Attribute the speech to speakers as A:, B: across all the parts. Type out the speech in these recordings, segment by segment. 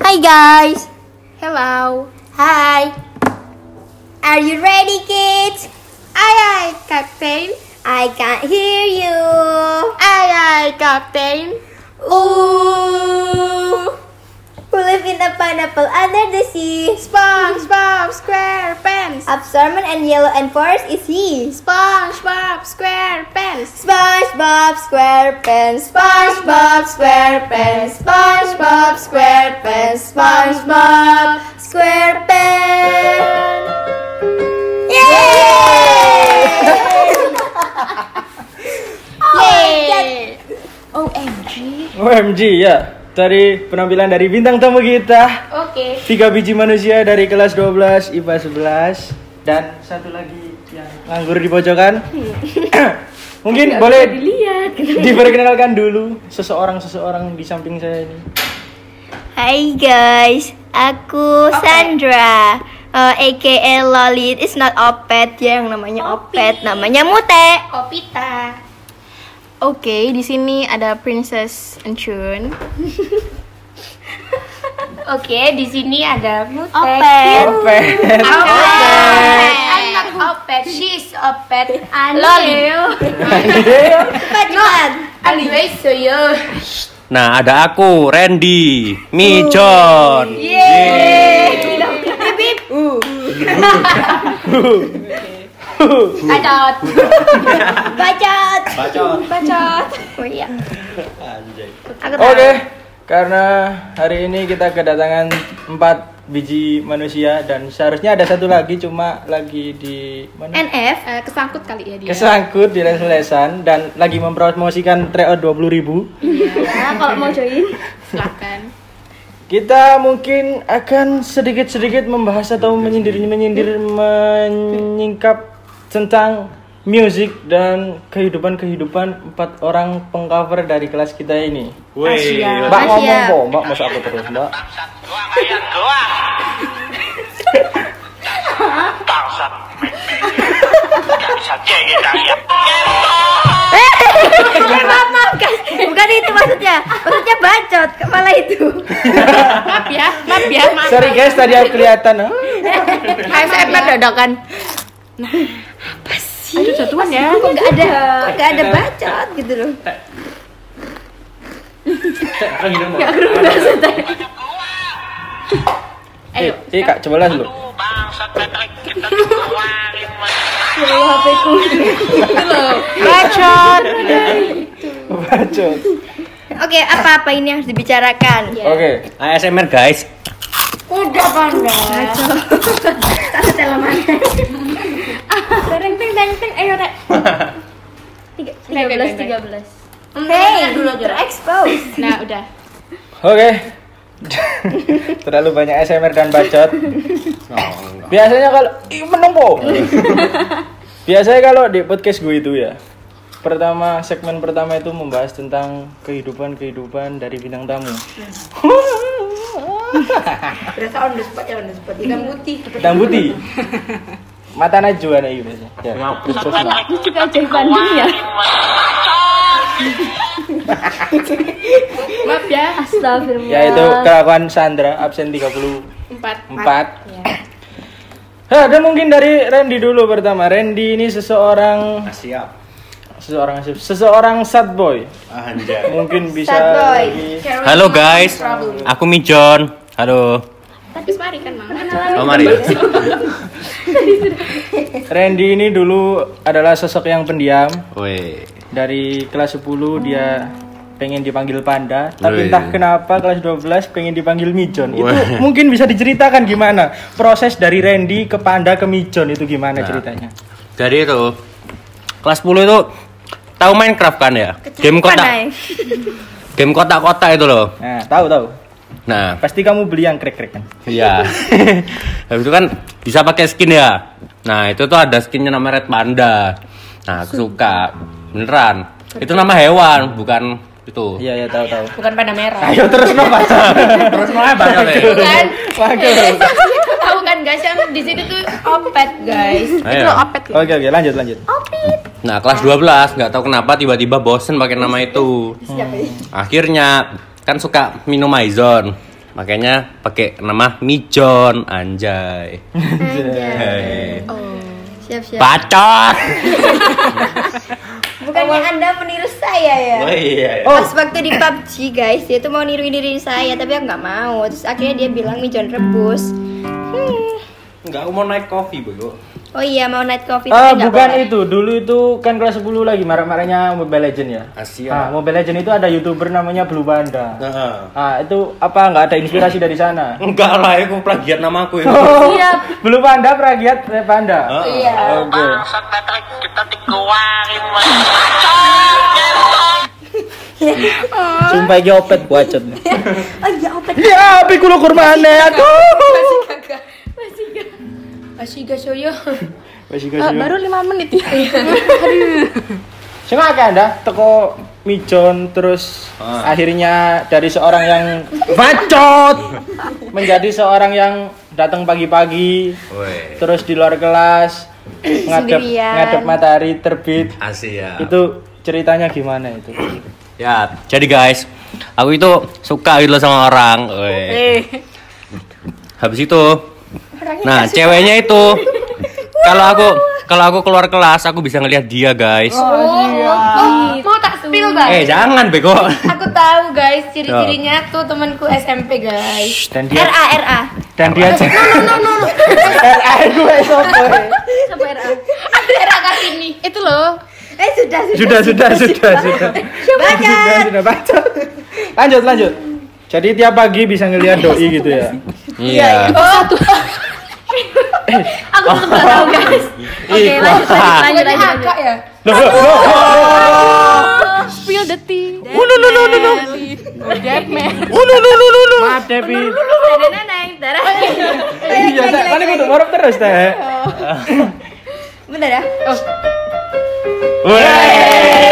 A: Hi guys!
B: Hello.
A: Hi! Are you ready kids?
B: Aye aye, Captain.
A: I can hear you!
B: Aye aye, Captain.
A: Ooh! Who live in a pineapple under the sea?
B: SpongeBob SquarePants.
A: Absorbent and yellow and forest is he.
B: SpongeBob SquarePants.
A: SpongeBob SquarePants, SpongeBob SquarePants, SpongeBob SquarePants, SpongeBob SquarePants. Yay!
B: Yay!
C: OMG ya, dari penampilan dari bintang tamu kita
B: Oke.
C: Tiga biji manusia dari kelas 12, IPA 11 Dan satu lagi yang nganggur di pojokan Mungkin boleh diperkenalkan dulu seseorang-seseorang di samping saya ini
A: Hai guys, aku Sandra. Uh, AKA Lolit, it's not Opet ya yang namanya Opet, namanya Mute.
B: Opita. Oke, di sini ada Princess Enchun. Oke, di sini ada Mutek.
A: Opet.
C: Oh, Opet
B: Opet. I'm not Opet. She's Opet. Lolly.
A: Cepat, cepat.
B: Anyway, so you.
D: Nah, ada aku, Randy, Mijon.
B: Ada
A: Bacot.
C: Bacot.
A: Bacot. Oh iya. Aku tahu.
C: Oke, karena hari ini kita kedatangan empat biji manusia dan seharusnya ada satu lagi cuma lagi di mana?
A: NF.
B: Eh, kesangkut kali ya dia.
C: Iya. kesangkut di les-lesan dan lagi mempromosikan tryout 20.000
A: Ya, kalau mau join.
B: Silakan.
C: Kita mungkin akan sedikit-sedikit membahas atau menyindir-menyindir menyingkap tentang musik dan kehidupan-kehidupan empat orang pengcover dari kelas kita ini.
D: Wih,
C: Mbak
A: Siap.
C: ngomong kok, Mbak masa aku terus, Mbak.
A: Eh, maaf, maaf, guys. Bukan itu maksudnya. Maksudnya bacot, kepala itu.
B: Maaf ya, maaf ya. Maaf. ya.
C: Sorry guys, tadi aku kelihatan. ah.
B: ASMR dadakan.
A: Aduh, jatuhan ya. Kok enggak ada kok enggak ada bacot gitu loh.
C: Eh, eh, Kak, coba lah dulu.
A: Ya Allah, HP ku. Gitu
B: Bacot.
C: Bacot.
A: Oke, apa-apa ini yang harus dibicarakan?
C: Oke.
D: ASMR guys.
B: Udah bangga.
A: Satu teleman.
B: Ah,
A: Teng teng teng teng ayo rek. Tiga- 13 13. Hey, terexpose.
B: Nah, udah.
C: Oke. Terlalu banyak SMR dan bacot. Biasanya kalau ih menang po. Biasanya kalau di podcast gue itu ya. Pertama segmen pertama itu membahas tentang kehidupan-kehidupan dari bintang tamu.
A: Berasa on the spot ya on the spot. Hitam putih.
C: Bintang putih. Mata najwa nah iya biasanya. Ya.
A: Juga aja Bandung ya.
B: Maaf ya.
A: Astagfirullah.
C: Ya itu kelakuan Sandra absen 34.
B: Empat.
C: Iya. Hah, dan mungkin dari Randy dulu pertama. Randy ini seseorang
D: Siap.
C: seseorang seseorang sad boy mungkin bisa
A: Sad boy.
C: lagi-
D: Halo guys, aku Mijon. Halo.
B: Tapi mari kan, Mang.
D: Oh, mari.
C: Randy ini dulu adalah sosok yang pendiam
D: Wih.
C: dari kelas 10 dia pengen dipanggil panda tapi
D: Wih.
C: entah kenapa kelas 12 pengen dipanggil Mijon itu
D: Wah.
C: mungkin bisa diceritakan gimana proses dari Randy ke panda ke Mijon itu gimana
D: Nah.
C: ceritanya
D: Jadi itu kelas 10 itu tahu Minecraft kan ya? Game kotak.
A: Pandai.
D: Game kotak-kotak itu loh.
C: nah tahu tahu
D: Nah,
C: pasti kamu beli yang krek krek kan
D: Iya. Habis itu kan bisa pakai skin ya. Nah, itu tuh ada skinnya nama Red Panda. Nah, aku suka. Beneran. Itu nama hewan, bukan itu.
C: iya iya tahu tahu
B: Bukan pada merah.
C: ayo terus no
D: Terus namanya banyak ya.
B: Bukan. Iya. Tahu kan guys yang di sini tuh opet guys. Itu
D: Ayo.
B: loh opet.
C: oke oke lanjut lanjut
D: Nah, kelas 12 nggak tahu kenapa ya? Hmm. tiba-tiba bosen pakai nama itu. Akhirnya kan suka minum Maison. makanya pakai nama Mijon anjay Hei.
A: Siap
D: iya.
A: siap.
D: bacot
A: Bukannya anda meniru saya ya?
D: oh iya
A: Pas waktu di PUBG guys, dia tuh mau niruin diri saya tapi aku nggak mau. Terus akhirnya dia bilang mijon rebus. Hmm.
D: nggak aku mau naik kopi bego
A: Oh iya mau night coffee.
C: Ah,
A: tapi nggak
C: bukan
A: boleh.
C: itu. Dulu itu kan kelas 10 lagi marah-marahnya Mobile Legend ya.
D: Asia.
C: Ah, Mobile Legend itu ada YouTuber namanya Blue Panda.
D: Nah,
C: Ah, itu apa nggak ada inspirasi dari sana? Oh.
D: enggak lah aku plagiat nama aku ya. itu
B: Siap.
C: Blue Panda pragiat eh, Panda.
A: Oh. Iya.
C: Oke.
E: Bangsat baterai kita dikeluarin mas
C: Sumpah iki opet bacot.
A: Oh iya opet.
C: ya, api kulo kurmane aduh.
D: Oh.
B: Asiga Soyo.
C: Wes iki
A: Ah,
C: sih.
B: Eh, Baru 5 menit ya.
C: Sing akeh Anda teko Mijon terus
D: Ah.
C: akhirnya dari seorang yang bacot menjadi seorang yang datang pagi-pagi
D: Woi,
C: terus di luar kelas ngadep
A: Sendirian.
C: ngadep matahari terbit
D: Asia.
C: itu ceritanya gimana itu
D: Ya, jadi guys, aku itu suka gitu loh sama orang. Woi. Habis itu, nah ceweknya itu, kalau aku kalau aku keluar kelas aku bisa ngelihat dia guys.
B: Oh. Mau tak spill, Bang?
D: eh jangan bego.
B: Aku tahu guys ciri-cirinya tuh temanku SMP guys.
C: dan dia
A: RA RA.
C: dan dia cek RA gue sopo
B: Siapa era? Ada era Kartini. Itu loh.
A: Eh sudah sudah.
C: sudah sudah sudah sudah sudah
A: Banyak.
C: sudah baca lanjut lanjut jadi tiap pagi bisa ngelihat doi gitu ya
D: Iya.
B: Aku tuh nggak tahu guys. Oke,
D: Ih,
B: lanjut
D: wah.
B: lanjut lanjut lanjut. ya.
C: Loh, loh, loh, loh.
F: Spill the tea.
C: Ulu, lu, lu, lu, lu.
D: Uh,
C: Ulu, lu, lu, lu, lu. Maaf Devi.
A: Neneng darah.
C: Iya, Teh. Kan aku udah ngorok terus teh. Oh.
A: Bentar ya.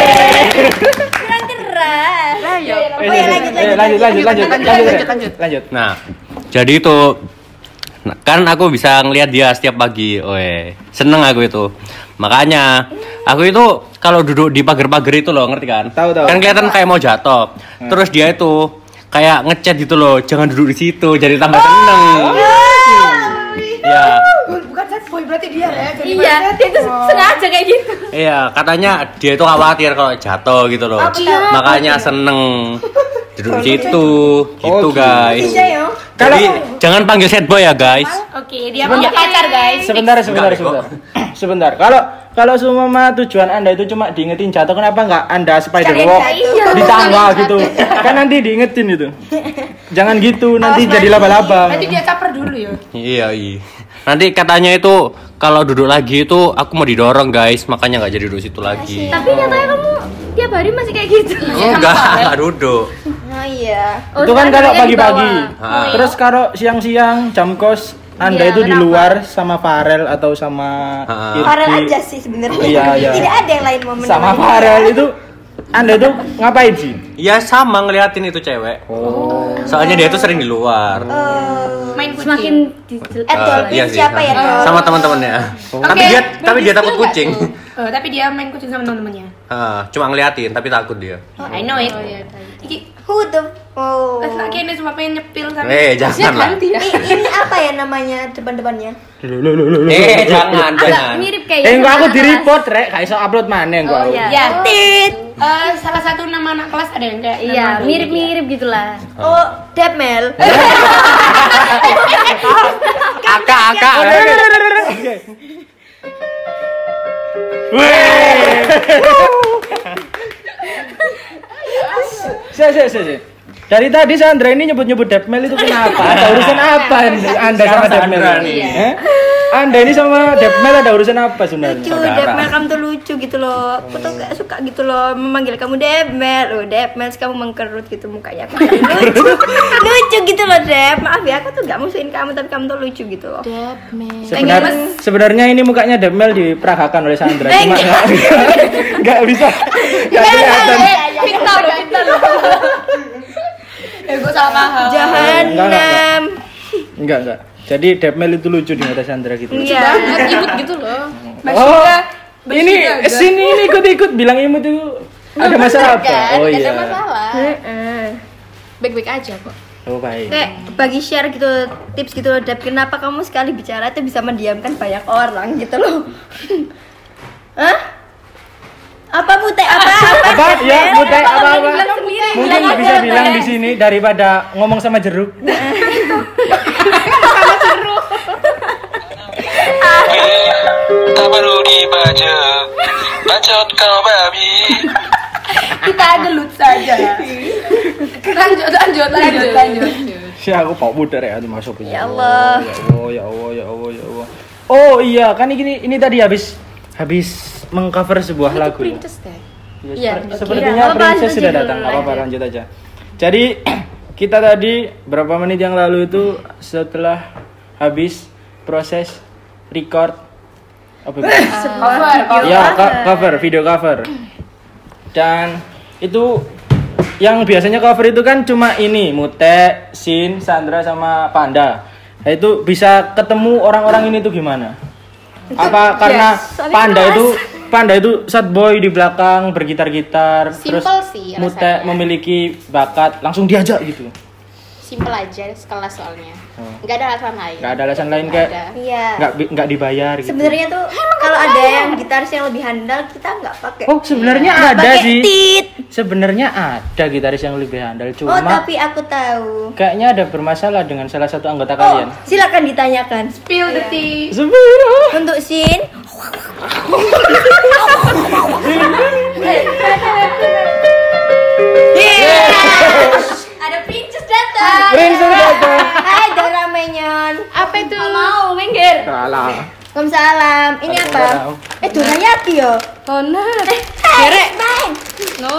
A: Kurang keras. Oh
C: Eh,
A: ya lanjut
C: eh,
A: lanjut.
C: lanjut lanjut lanjut lanjut
B: lanjut,
C: lanjut lanjut.
D: Nah, jadi itu nah, kan aku bisa ngelihat dia setiap pagi. Woi, seneng aku itu. Makanya aku itu kalau duduk di pagar-pagar itu loh, ngerti kan?
C: Tahu, tahu. Hmm.
D: Kan kelihatan kayak mau jatuh. Terus dia itu kayak ngechat gitu loh, jangan duduk di situ, jadi tambah seneng.
C: Oh,
D: Iya,
B: Iya, dia tuh sengaja kayak gitu.
D: iya. Katanya dia itu khawatir kalau jatuh gitu loh. Makanya seneng duduk di situ,
C: Oh,
D: gitu
C: gitu.
D: guys. Jadi jangan panggil sad boy ya guys.
B: Oke, dia punya pacar guys.
C: Sebentar sebentar
D: Enggak, Bego.
C: sebentar. Sebentar. Kalau kalau semua tujuan Anda itu cuma diingetin jatuh, kenapa enggak Anda spider
A: Kalian
C: walk
A: jatuh.
C: di tangga gitu? Kan nanti diingetin itu. Jangan gitu, nanti jadi laba-laba.
B: Nanti dia caper dulu ya.
D: Iya iya. Nanti katanya itu kalau duduk lagi itu aku mau didorong guys, makanya nggak jadi duduk situ lagi.
C: Oh.
F: Tapi nyatanya kamu tiap hari masih kayak gitu.
D: Enggak, nggak duduk.
A: Oh iya.
F: Oh,
C: itu kan
F: sekarang
C: kalau
F: kalian di
C: pagi-pagi.
F: bawah. Oh,
D: Ah.
C: Terus kalau siang-siang jam kos Anda
F: Iya,
C: itu di
F: kenapa?
C: luar sama Farel atau sama
D: Ah.
C: Irgi.
A: Farel aja sih sebenarnya.
C: Iya, iya.
A: Tidak ada yang lain momen.
C: Sama
A: lain.
C: Farel itu Anda itu ngapain sih?
D: Iya sama ngeliatin itu cewek. Soalnya dia itu sering di luar.
A: Eh,
B: Main kucing.
F: Semakin dijel-
A: Eh,
D: Eh,
A: Dolby siapa ya? Dol?
D: Sama teman-temannya.
B: Oke,
D: Tapi dia tapi dia
B: berarti
D: takut
B: skill nggak
D: kucing.
B: tuh? Eh, tapi dia main kucing sama teman-temannya.
D: Ah, cuma ngeliatin tapi takut dia.
B: Oh, I know it. Iki
A: Who the oh.
B: Pas lagi ini cuma pengen nyepil Iya. sama.
D: Eh, jangan lah.
A: Ini, ini apa ya namanya depan-depannya?
D: Eh, jangan,
F: Agak
D: jangan.
F: mirip
C: Iya.
F: kayak gitu
C: Eh, enggak
F: sama
C: aku di
F: kelas.
C: report, Rek. Gak bisa upload mana enggak
F: iya, Oh
C: aku.
F: iya.
B: Ya.
A: Tit.
B: Eh, salah satu nama anak kelas ada yang kayak
F: Iya,
B: nama dia.
F: mirip-mirip
C: gitu.
F: gitulah.
A: Oh, Depmel.
D: Akak, akak.
C: Oke. Wih. Sih, sih, sih, sih. Dari tadi Sandra ini nyebut-nyebut Depmel itu kenapa? Ada urusan apa nih Anda sama
D: Sekarang
C: Depmel?
D: Sandra nih.
C: Eh? Anda ini sama Depmel ada urusan apa
A: lucu,
C: sebenarnya?
A: Depmel kamu tuh lucu gitu loh. Aku tuh gak suka gitu loh memanggil kamu Depmel. Oh, Depmel kamu mengkerut gitu mukanya. Aku kayak lucu. lucu gitu loh, Dep. Maaf ya, aku tuh gak musuhin kamu tapi kamu tuh lucu gitu loh.
C: Sebenar, sebenarnya ini mukanya Depmel diperagakan oleh Sandra. Cuma nggak nggak bisa. Nggak kelihatan.
B: Pintar loh, pintar loh. Eh, gue salah paham.
C: Enggak, enggak,
A: Jahanam.
C: Enggak, enggak. Jadi Depmel itu lucu di mata Sandra gitu.
A: Iya.
B: Banget imut gitu loh.
C: Oh,
B: Basuda,
C: ini
B: Basuda,
C: sini ini ikut-ikut bilang imut itu ada masalah apa?
B: kan?
C: Oh
B: Ada
C: iya.
B: masalah. Baik-baik aja kok.
C: Oh baik.
F: Nah,
A: kayak bagi share gitu tips gitu loh Dap kenapa kamu sekali bicara itu bisa mendiamkan banyak orang gitu loh Hah? apa mute apa apa
C: Apa? Ya, mutai apa apa.
F: sendiri
C: Mungkin
F: bilang
C: bisa
F: aja,
C: bilang
F: Teh.
C: di sini daripada ngomong sama jeruk.
E: Tak perlu dibaca Bacot kau babi
B: Kita gelut saja. lanjut, lanjut, lanjut, lanjut.
C: Si aku pak budar ya masuk
A: Ya Allah.
C: Ya Allah, ya Allah, ya Allah, ya Allah. Oh iya, kan ini ini tadi habis habis mengcover sebuah lagu. ya. Ya,
A: Nggak
C: sepert- Sepertinya
A: Iya, apa-apa,
C: princess
A: lanjut
C: sudah
A: aja
C: datang.
A: dulu,
C: Nggak apa-apa, lanjut aja. Jadi kita tadi berapa menit yang lalu itu setelah habis proses record apa itu? ya co- cover video cover dan itu yang biasanya cover itu kan cuma ini Mute, Sin, Sandra sama Panda. Nah, itu bisa ketemu orang-orang ini tuh gimana? Apa karena Panda itu Panda itu sad boy di belakang bergitar-gitar
B: Simple
C: terus
B: sih
C: Mute
B: alasannya.
C: memiliki bakat langsung diajak gitu.
B: Simple aja sekelas soalnya.
D: Hmm.
C: Oh.
B: Nggak ada alasan lain.
C: Nggak ada alasan lain,
B: Nggak
C: kayak-
B: ada.
A: iya
C: Nggak bi- nggak dibayar gitu.
A: sebenarnya tuh kalau ada yang gitaris yang lebih handal kita nggak pakai
C: Oh, sebenarnya
A: Nggak
C: ada
A: pakai
C: sih.
A: tit. Sebenarnya
C: Sebenarnya ada gitaris yang lebih handal cuma
A: oh tapi aku tahu
C: kayaknya ada bermasalah dengan salah satu anggota
A: oh
C: kalian.
A: silakan ditanyakan
B: Spill the tea.
C: Sepiro.
A: untuk sin
F: ada princess datang
C: Princess datang.
A: Hai Doraemon.
B: Ah, Apa itu?
F: mau minggir
C: Salah.
A: Waalaikumsalam. Ini apa?
C: Waalaikumsalam.
A: Eh Dorayaki yo.
B: Tona.
A: Derek. Main.
B: No.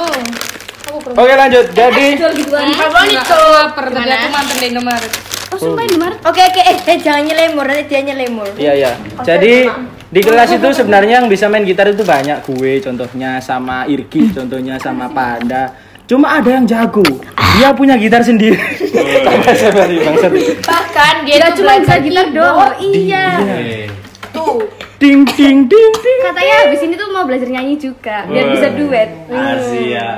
C: Oke lanjut. Jadi
B: Apa nih cowok pernah aku mantan dari nomor.
F: oh sumpah ini Mar
A: Oke oke eh, eh, jangan nyelemur nanti dia nyelemur.
C: iya iya. Jadi di kelas itu sebenarnya yang bisa main gitar itu banyak gue contohnya sama Irki contohnya sama Panda. Cuma ada yang jago. Dia punya gitar sendiri. Tanda sebari bangsat.
B: Bahkan dia
F: Gak
B: itu
F: cuma bisa
B: belajar
F: gitar
B: keyboard.
F: doang iya
B: Tuh.
C: Ding ding ding ding.
F: katanya habis ini tuh mau belajar nyanyi juga
C: Oh.
F: biar bisa duet
D: Asia.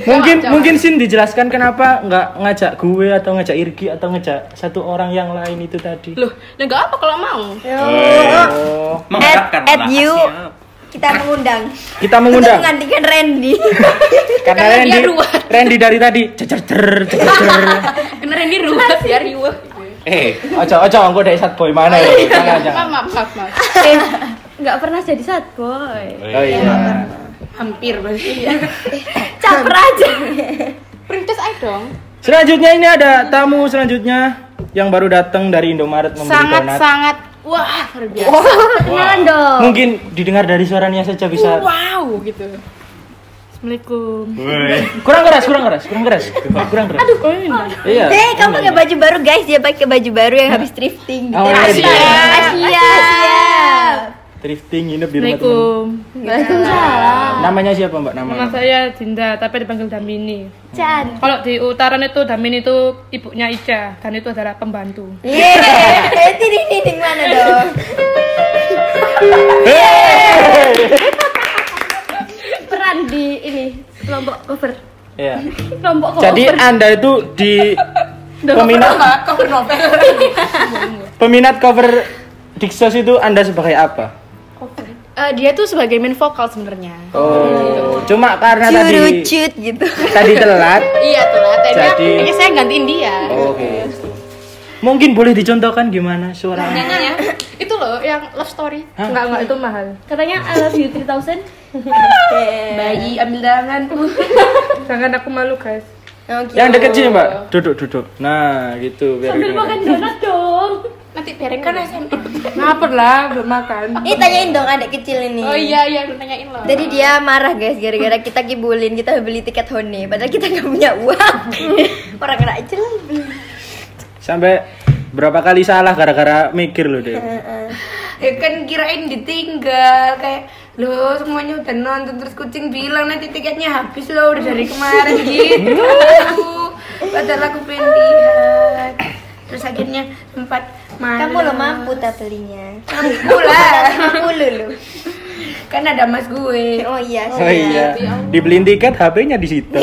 C: Mungkin mungkin Sin dijelaskan kenapa nggak ngajak gue atau ngajak Irki atau ngajak satu orang yang lain itu tadi.
B: Loh, nah nggak apa kalau mau.
C: Iya. Oh.
D: Mengharapkan
A: at
D: anak
A: you.
D: Asia.
A: Kita mengundang.
C: Kita
A: Untuk
C: mengundang
A: menggantikan Randy.
C: karena
B: Karena dia
C: Randy,
B: ruwet.
C: Randy dari tadi cecer cer cer cer.
B: Karena ini ruwet ya riweh.
D: Eh,
C: Ojo ojo engko dari sad boy mana ya? Jangan jangan.
B: Iya. Maaf, maaf, maaf, maaf.
F: Eh, nggak pernah jadi sad boy
C: Oh iya.
B: Hampir berarti ya.
F: caper aja
B: Princess I dong.
C: Selanjutnya ini ada tamu selanjutnya yang baru datang dari Indomaret membeli donat.
B: Sangat-sangat wah, luar biasa.
F: kenalan dong
C: Mungkin didengar dari suaranya saja bisa.
B: Wow gitu. Assalamualaikum.
C: Kurang keras, kurang keras, kurang keras. Kurang keras. Aduh, Iya.
A: Hei, Eh, kamu pakai baju baru guys, dia pakai baju baru yang habis thrifting.
C: Oh, iya.
A: Iya.
C: Drifting nginep di rumah temen.
F: Waalaikumsalam
C: Namanya siapa, Mbak? Nama.
G: Nama saya Dinda, tapi dipanggil Damini.
F: Can
G: Kalau di utaran itu Damini itu ibunya Ica dan itu adalah pembantu.
A: Yeay. Eh, tiding tiding mana dong?
F: peran di ini kelompok cover
C: Iya.
F: kelompok cover
C: Jadi Anda itu di peminat
B: Kau novel.
C: peminat cover Dixos itu Anda sebagai apa?
G: Eh, dia tuh sebagai main vokal sebenarnya.
C: Oh, cuma karena tadi
A: Curucut gitu.
C: tadi telat.
B: Iya tuh lah. Tadi
C: Jadi-
B: akhirnya saya gantiin dia.
C: Oke. Mungkin boleh dicontohkan gimana suaranya?
B: Nyanyinya ya. itu loh yang love story.
G: Enggak, enggak itu mahal.
F: katanya I love you 3000
B: Eh. Bayi ambil tangan.
G: Jangan aku malu, guys.
A: Ya.
C: Yang deket sini, Mbak. Duduk, duduk. Nah, gitu biar
F: sambil
C: didengar.
F: makan donat dong
B: Nanti biarin kan SMP.
G: Ngaper lah, belum makan.
A: Ini tanyain dong adik kecil ini.
B: Oh iya iya lu nanyain loh.
A: Jadi dia marah guys gara-gara kita kibulin kita beli tiket Hone padahal kita nggak punya uang. Orang kena aja lah beli.
C: Sampai berapa kali salah gara-gara mikir loh deh.
B: ya kan kirain ditinggal kayak lo semuanya udah nonton terus kucing bilang nanti tiketnya habis lo udah dari kemarin gitu padahal aku pengen lihat terus akhirnya sempat marah
A: Kamu lo mampu tak belinya.
B: Mampu lah
A: Mampu lu lu.
B: kan ada mas gue
A: Oh iya sih.
C: Oh iya. Dibeliin tiket HP-nya di situ.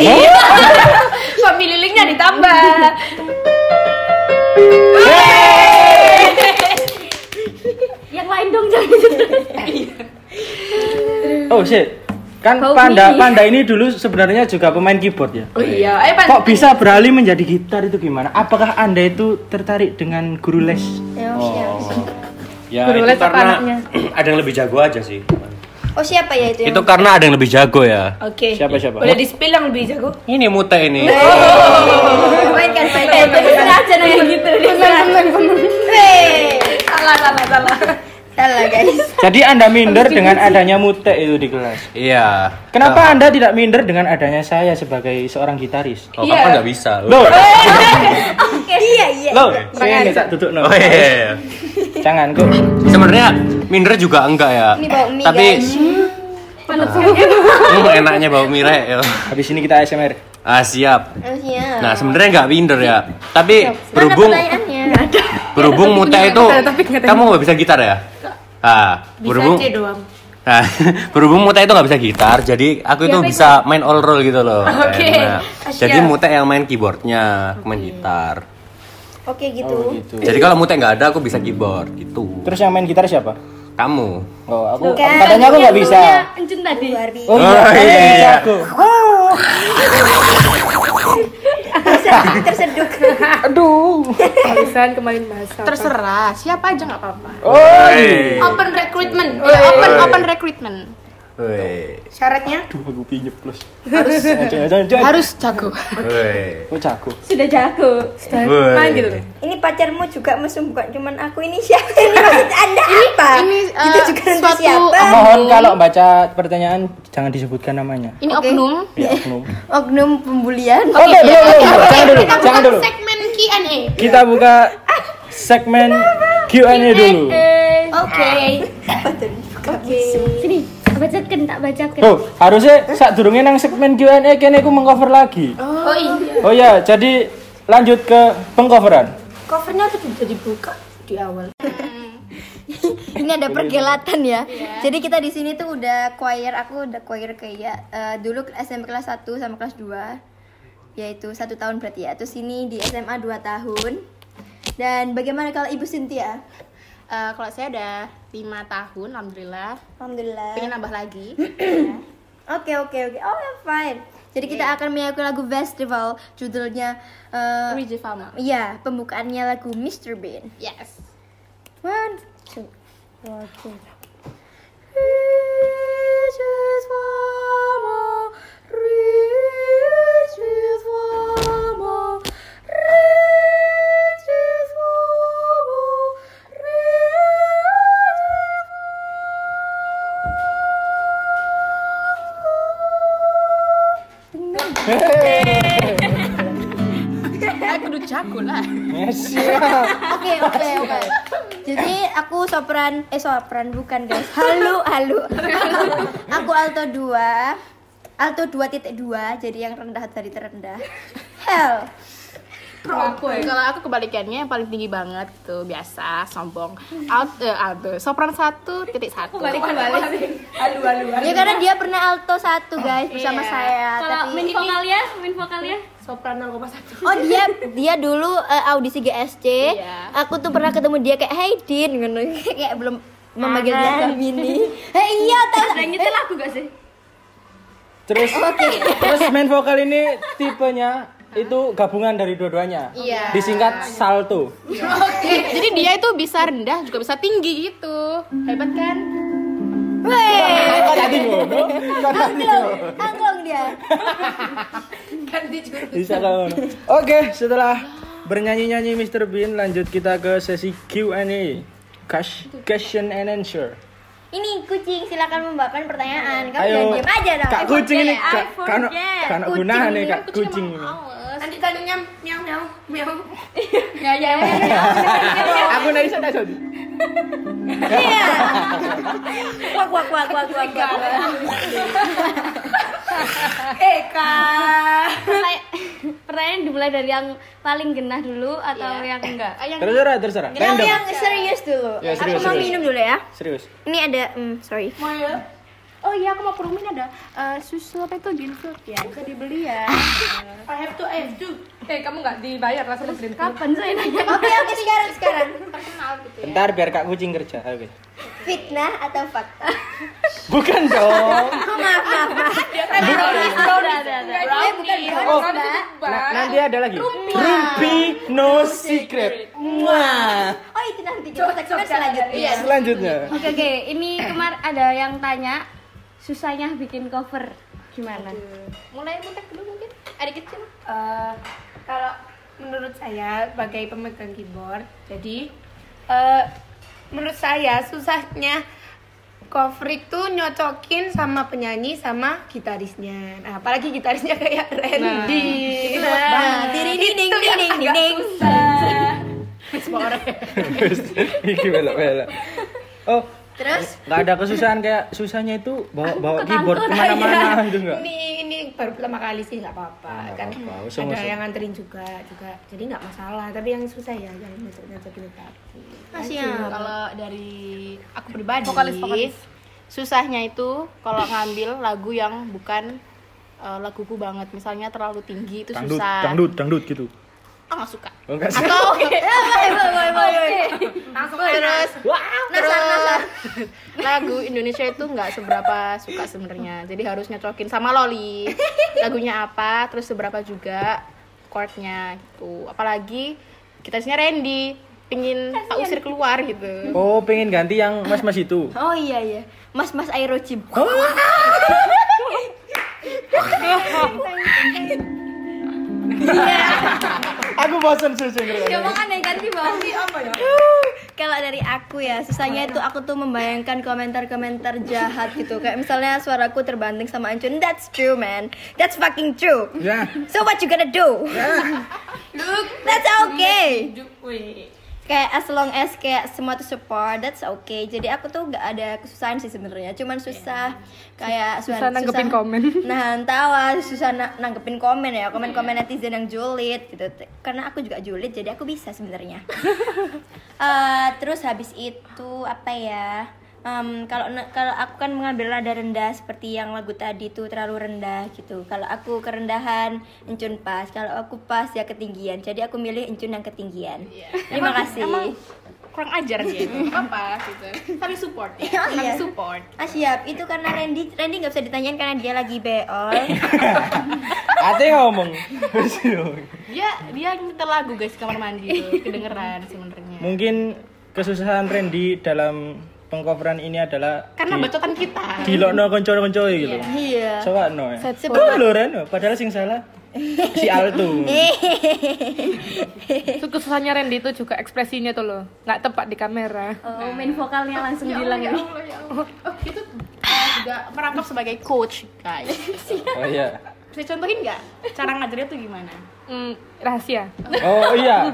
B: family linknya ditambah
F: Yang lain dong jangan
C: Oh shit. Kan Panda Panda ini dulu sebenarnya juga pemain keyboard ya.
B: oh iya ayo pan
C: Kok bisa beralih menjadi gitar itu gimana? Apakah Anda itu tertarik dengan guru les?
A: Oh, siapa?
G: itu Guru les apa karena anaknya?
D: Ya, ada yang lebih jago aja sih.
A: Oh siapa ya itu?
D: Itu
A: yang-
D: karena ada yang lebih jago ya.
B: oke
C: Siapa siapa?
B: boleh di spill yang lebih jago
D: Ini mute ini.
A: Main kan main
F: Eh, terserah aja nanya gitu
A: Hei.
B: salah salah salah
A: Salah guys.
C: Jadi Anda minder dengan adanya Mute itu di kelas.
D: Iya.
C: Kenapa Anda tidak minder dengan adanya saya sebagai seorang gitaris?
D: Oh,
B: Iya.
D: apa nggak bisa?
C: Loh,
A: Iya iya.
C: loh, sini tak duduk no.
D: Oh iya, iya, iya.
C: Jangan kok.
D: Sebenarnya minder juga enggak ya.
A: Ini bau mie,
D: Tapi
A: guys.
D: Hmm, enaknya bau mie rek, yo.
C: Habis ini kita ASMR.
D: Ah siap.
A: Oh siap.
D: Nah sebenarnya nggak minder ya. Tapi
A: Mana
D: berhubung
A: pertanyaannya?
D: berhubung muta itu
G: nggak ada topik, nggak ada
D: kamu nggak bisa gitar ya? Ah berhubung
B: C doang
D: Nah, berhubung Muta itu nggak bisa gitar, jadi aku itu bisa main all roll gitu loh.
B: Oke.
D: Enak.
B: Ah,
D: Jadi
B: siap.
D: Muta yang main keyboardnya, aku main gitar.
A: Oke gitu.
C: gitu.
D: Jadi kalau Muta nggak ada, aku bisa keyboard gitu.
C: Terus yang main gitar siapa?
D: Kamu.
C: Oh, aku
A: Bukan.
C: katanya aku nggak bisa.
F: Encun tadi.
A: Luar biasa.
C: Oh iya,
D: Oh,
C: katanya
D: iya,
C: nggak bisa
D: iya.
C: aku.
A: Terseduk, terseduk.
G: Alisan kemarin bahasa.
H: terserah siapa aja nggak apa-apa
C: Oh,
D: Wey.
B: open recruitment
H: Ya, open open recruitment
D: Wey.
A: Syaratnya
C: aduh aku pinjep plus. Harus jangan
H: harus jago
D: Wey.
C: Oh jago.
F: Sudah jago.
D: Wey.
G: Main gitu deh.
A: ini pacarmu juga mesum bukan cuman aku ini siapa ini maksud anda apa
H: ini,
A: itu
H: eh,
A: juga nanti
H: suatu-
A: siapa
C: Mohon kalau baca pertanyaan jangan disebutkan namanya.
H: ini oknum
C: Ya, oknum.
A: oknum pembulian
C: Oke, belum, belum, belum. Jangan dulu,
H: kita
C: jangan
H: buka
C: dulu.
H: segmen Q&A
C: Kita buka segmen Q&A dulu.
H: oke
F: Sini, tak bacakan, tak bacakan.
C: Oh, harusnya saat durungnya nang segmen Q&A kene aku mengcover lagi.
B: oh iya
C: Oh ya, jadi lanjut ke pengcoveran.
B: covernya tuh udah dibuka di awal
A: ini ada pergelatan
H: Iya.
A: ya jadi kita di sini tuh udah choir aku udah choir kayak eh, dulu SMP kelas 1 sama kelas 2 yaitu satu tahun berarti ya terus ini di SMA 2 tahun dan bagaimana kalau ibu Cynthia
H: Eh, kalau saya ada lima tahun alhamdulillah
A: Alhamdulillah
H: pengen nambah lagi
A: Oke oke oke. Oh fine. Jadi kita akan menyanyikan lagu festival judulnya eh,
H: Luigi Fama
A: Iya, pembukaannya lagu Mr. Bean.
H: yes
A: One, two, one, two. Riches mama, riches mama, riches mama, riches
H: aku udah jago lah
C: Yes, siap.
A: Oke oke oke. Jadi aku sopran eh sopran bukan guys. Halo halo. Aku alto 2. Alto 2.2 jadi yang rendah dari terendah. Hell.
H: kalau aku kebalikannya yang paling tinggi banget tuh biasa sombong out eh, alto sopran satu titik satu
A: Ya karena dia pernah alto 1 guys bersama
H: Iya.
A: saya.
F: Kalau
A: Tapi
F: main vokal ya, main vokal ya.
A: oh dia dia dulu eh, audisi GSC.
H: Iya.
A: Aku tuh pernah ketemu dia kayak Hey Din ngono kayak belum memanggil dia kami ini. Eh iya tahu.
F: Nah, nyetel lagu gak sih?
C: Terus terus main vokal ini tipenya itu gabungan dari dua-duanya.
H: Iya.
C: Disingkat salto.
H: Eh, jadi dia itu bisa rendah juga bisa tinggi gitu hebat kan
C: Tadi ngono, tadi ngono.
A: Angklung dia.
C: Bisa kalau ngono. Oke, setelah bernyanyi-nyanyi Mr. Bean, lanjut kita ke sesi Q&A. Cash- Question and answer.
A: Ini kucing silakan membawakan pertanyaan. Kamu jangan
C: Ayo,
A: diam aja dong.
C: kak
A: I
C: kucing
A: forget,
C: ini,
A: I
C: kak, kak, no-
A: forget.
C: kak, no gunaan nih kak kucing ini.
B: nanti tanya miau miau miau
C: Aku nggak bisa tadi.
A: Iya. Kuak kuak kuak kuak kuak. kuak.
F: Pertanya- Pertanyaan dimulai dari yang paling genah dulu atau yang enggak?
C: Terserah, terserah.
A: Yang
C: Random.
A: yang serius dulu.
C: Ya, serius,
A: Aku mau
C: serius.
A: minum dulu ya.
C: Serius.
A: Ini ada, hmm, sorry.
H: oh iya aku mau perumin ada eh, susu apa itu green food ya bisa dibeli ya
G: I have to, I have to. Eh, kamu nggak dibayar lah sama Green Food.
F: Kapan saya nanya?
A: Oke oke sekarang sekarang
C: Bentar biar Kak Kucing kerja. Ayo. guys.
A: fitnah atau fakta?
C: Bukan dong.
A: Oh, maaf maaf maaf. Eh, bukan
C: Oh,
A: brownies mbak.
C: Na- nanti ada lagi. Rumpi no secret. Wah.
A: Oh itu nanti kita tekan selanjutnya.
C: Selanjutnya.
F: Oke oke, ini kemar ada yang tanya susahnya bikin cover gimana?
B: mulai mutek dulu mungkin ada kecil Eh, kalau menurut saya sebagai pemegang keyboard jadi eh, menurut saya susahnya cover itu nyocokin sama penyanyi sama gitarisnya nah, apalagi gitarisnya kayak Randy
A: Nah, ding ding ding ding ding ding.
C: Terus, Iki belok-belok. Oh,
A: Terus
C: nggak ada kesusahan kayak susahnya itu bawa bawa keyboard kemana-mana itu enggak.
B: ini ini baru pertama kali sih nggak apa-apa
C: nggak
B: kan
C: apa-apa.
B: ada
C: Usah- usah.
B: yang nganterin juga juga jadi nggak masalah tapi yang susah ya yang nyocok nyocokin kaki
A: siap.
H: kalau dari aku pribadi susahnya itu kalau ngambil lagu yang bukan eh, laguku banget misalnya terlalu tinggi itu
C: Dangdut,
H: susah
C: dangdut, dangdut gitu.
H: Ah, nggak suka
C: Oh, enggak sih.
H: atau
A: Woi woi woi woi.
H: terus Nah, terus lagu Indonesia itu nggak seberapa suka sebenarnya jadi harus nyocokin sama Loli lagunya apa terus seberapa juga chordnya gitu apalagi gitarisnya Randy pingin tak usir keluar gitu
C: Oh, pengen ganti yang mas-mas itu.
A: Oh iya iya. Mas Mas Aerojim.
C: Aku bosan susu ngerti.
A: Coba kan yang ganti bawah Kalau dari aku ya, susahnya itu aku tuh membayangkan komentar-komentar jahat gitu. Kayak misalnya suaraku terbanting sama Ancun. That's true, man. That's fucking true.
C: Ya.
A: So what you gonna do? That's okay. Kayak as long as kayak semua tuh support, that's okay. Jadi aku tuh gak ada kesusahan sih sebenarnya. Cuman susah kayak susah,
G: nanggepin komen.
A: Nahan tawa, susah na- nanggepin komen ya, komen-komen netizen yang julid gitu. T- Karena aku juga julid, jadi aku bisa sebenarnya. Eh, terus habis itu apa ya? Em, kalau ne- kalau aku kan mengambil nada rendah seperti yang lagu tadi itu terlalu rendah gitu. Kalau aku kerendahan, encun pas. Kalau aku pas ya ketinggian. Jadi aku milih encun yang ketinggian. Terima kasih.
H: kurang ajar dia itu apa gitu tapi support ya
A: Oh, iya.
H: Kami support
A: Ah siap, itu karena Randy Randy nggak bisa ditanyain karena dia lagi beol.
C: Ate ngomong.
H: dia dia nyetel lagu guys di kamar mandi tuh, kedengeran sebenarnya
C: Mungkin kesusahan Randy dalam pengcoveran ini adalah
H: karena
C: di-
H: bacotan kita
C: dilokno konco-konco gitu.
A: Iya.
C: Coba no. ya.
H: Set
C: Kok lho Reno, padahal sing salah si Altu.
G: Itu kesusahannya Randy itu juga ekspresinya tuh loh, nggak tepat di kamera.
F: Oh, main vokalnya langsung bilang ini.
H: itu eh, juga merampok sebagai coach guys
C: Oh iya.
H: bisa contohin nggak cara ngajarnya tuh gimana
G: Hmm, rahasia.
C: Oh iya.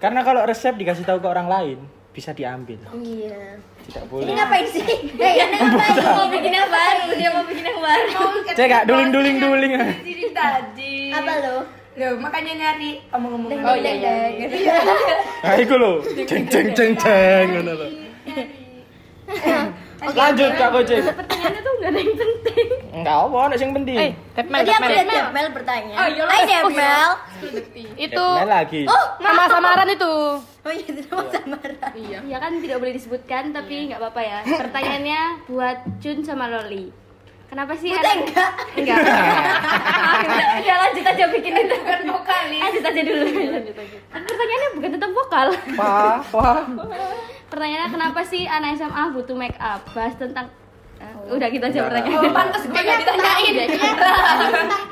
C: Karena kalau resep dikasih tahu ke orang lain bisa diambil.
A: Iya.
C: Tidak
A: Ini
C: boleh.
A: ngapain sih? Eh, ini ngapain? Dia mau bikin yang baru, dia mau bikin yang baru.
C: Cek Kak, duling-duling-duling.
F: Iya.
B: Jadi kan tadi
A: Apa lo?
B: Loh, makanya nyari omong-omong
A: Oh iya iya.
C: Nah, iku lho. Ceng ceng ceng
F: Iya,
C: ceng ngono lho. Lanjut Kak Kucing.
F: Pertanyaannya tuh nggak ada yang penting.
C: Enggak apa, nek sing penting.
G: Eh, tap mel,
A: Tadi
G: tap
A: aku
G: mel.
A: lihat Debmel bertanya. Hai Debmel.
G: Itu
C: Nah, lagi.
F: Oh.
G: nama samaran itu.
A: Oh iya, itu nama samaran.
F: Ya kan tidak boleh disebutkan tapi nggak apa-apa ya. Pertanyaannya buat Jun sama Loli. Kenapa sih?
A: Kita
F: ada-
A: enggak.
F: Enggak. Udah, udah, lanjut aja bikin itu.
B: Bukan vokalis
F: Eh, Lanjut aja dulu. Pertanyaannya bukan tentang vokal.
C: Wah, wah.
F: Pertanyaannya kenapa sih anak SMA butuh make up? Bahas tentang Eh, udah kita aja
B: Oh,
F: pertanyaan.
B: pantas gue gak ditanyain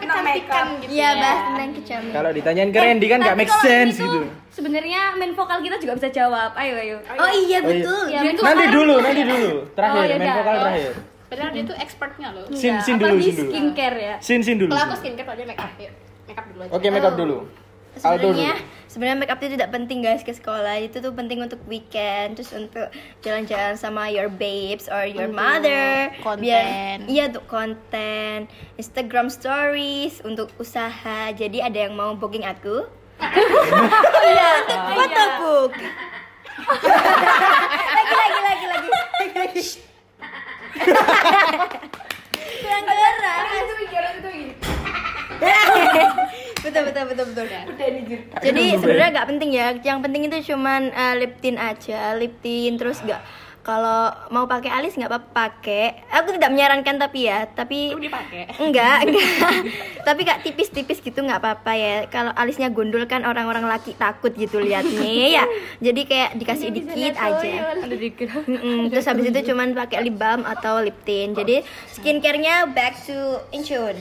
B: Kena makeup
A: Iya, bahas tentang kecamin.
C: Kalau ditanyain ke Randy kan enggak
F: Eh, Tapi
C: make
F: kalau
C: sense
F: ini tuh
C: gitu.
F: Sebenarnya main vokal kita juga bisa jawab. Ayo ayo.
A: Oh iya
C: Oh, iya.
A: betul.
F: Ya, main
C: Nanti
F: vokal-
C: dulu, nanti dulu.
F: Oh,
C: Terakhir, main
F: iya, udah.
C: vokal terakhir.
H: padahal dia tuh expertnya loh
G: kan?
C: Sin sin
F: Apa
C: dulu,
F: nih
C: sin dulu.
F: skincare ya?
C: Sin sin dulu.
H: kalau
C: sin.
H: aku skincare kalau dia make up yuk make up dulu aja
C: Oke, make up dulu. Aldo dulu.
A: sebenarnya sebenarnya make up itu tidak penting guys ke sekolah itu tuh penting untuk weekend terus untuk jalan-jalan sama your babes or your mother
H: konten.
A: iya untuk konten Instagram stories untuk usaha jadi ada yang mau booking aku oh iya untuk foto book lagi lagi lagi lagi lagi kurang gerak
B: itu mikir itu gini
A: betul betul betul betul
B: udah nih Jun
A: jadi sebenarnya nggak penting ya yang penting itu cuman eh, lip tint aja lip tint terus nggak kalau mau pakai alis nggak apa-apa pakai aku tidak menyarankan tapi ya tapi
H: dipakai
A: enggak enggak tapi kak tipis-tipis gitu nggak apa-apa ya kalau alisnya gondol kan orang-orang laki takut gitu liatnya ya jadi kayak dikasih dikit aja
F: Ada digerak.
A: Mm-mm. terus habis itu cuman pakai lip balm atau lip tint jadi skincare-nya back to Incheon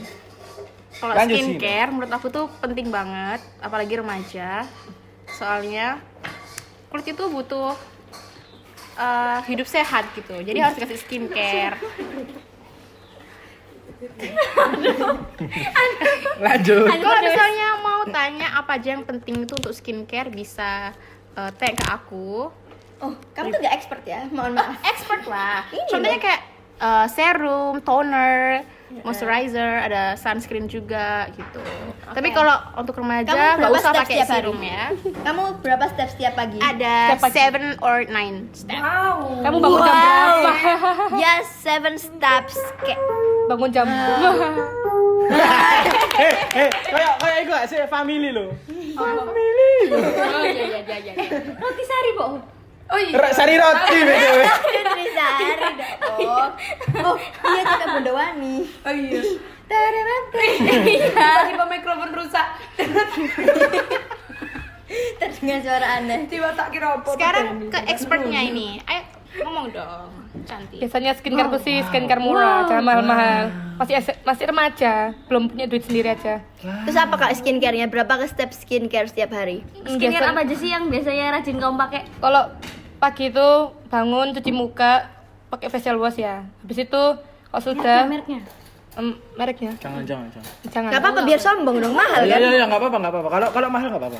H: Kalau
C: Lanjut,
H: skincare menurut aku tuh penting banget, apalagi remaja. Soalnya kulit itu butuh eh, hidup sehat gitu. Jadi harus dikasih skincare.
C: Lanjut.
H: Kalau misalnya mau tanya apa aja yang penting itu untuk skincare bisa eh, tag ke aku.
A: oh kamu tuh nggak expert ya mohon maaf
H: Expert lah.
A: Ini
H: Contohnya
A: loh.
H: kayak eh, serum, toner,
A: Iya.
H: moisturizer, ada sunscreen juga gitu. Tapi kalau untuk remaja
A: Kamu
H: nggak
A: berapa
H: usah
A: step
H: pakai
A: setiap hari?
H: serum ya.
A: kamu berapa step setiap pagi
H: ada seven or nine step.
B: wow
G: Kamu bangun jam berapa?
A: ya seven steps kayak
G: Bangun jam
C: Eh, eh, kayak kayak iku gak sih family lo.
H: Oh iya iya iya iya.
F: Roti sari, Bo.
B: oh iya
C: Rek sari roti BTW.
A: Trisari dong oh iya juga Bondowani
B: oh iya
F: Iya.
B: tiba-tiba mikrofon rusak
A: terdengar suara aneh
B: tiba tak kira apa
H: Sekarang ke expertnya ini. Ayo ngomong dong. Cantik.
G: Biasanya skincare
H: Oh,
G: ku sih skincare murah, jangan mahal-mahal. Masih es- masih remaja, belum punya duit sendiri aja.
A: terus apa kak skincare-nya berapa ke step skincare setiap hari
F: Skincare apa aja sih yang biasanya rajin kamu pakai?
G: Kalau pagi itu bangun cuci muka pakai facial wash ya. Habis itu kalau sudah
F: Mereknya.
G: em, mereknya
C: Jangan jangan jangan.
G: jangan.
A: Gak apa-apa biar sombong dong mahal
C: Iya
A: kan
C: iya iya enggak apa-apa enggak apa-apa. Kalau kalau mahal enggak apa-apa.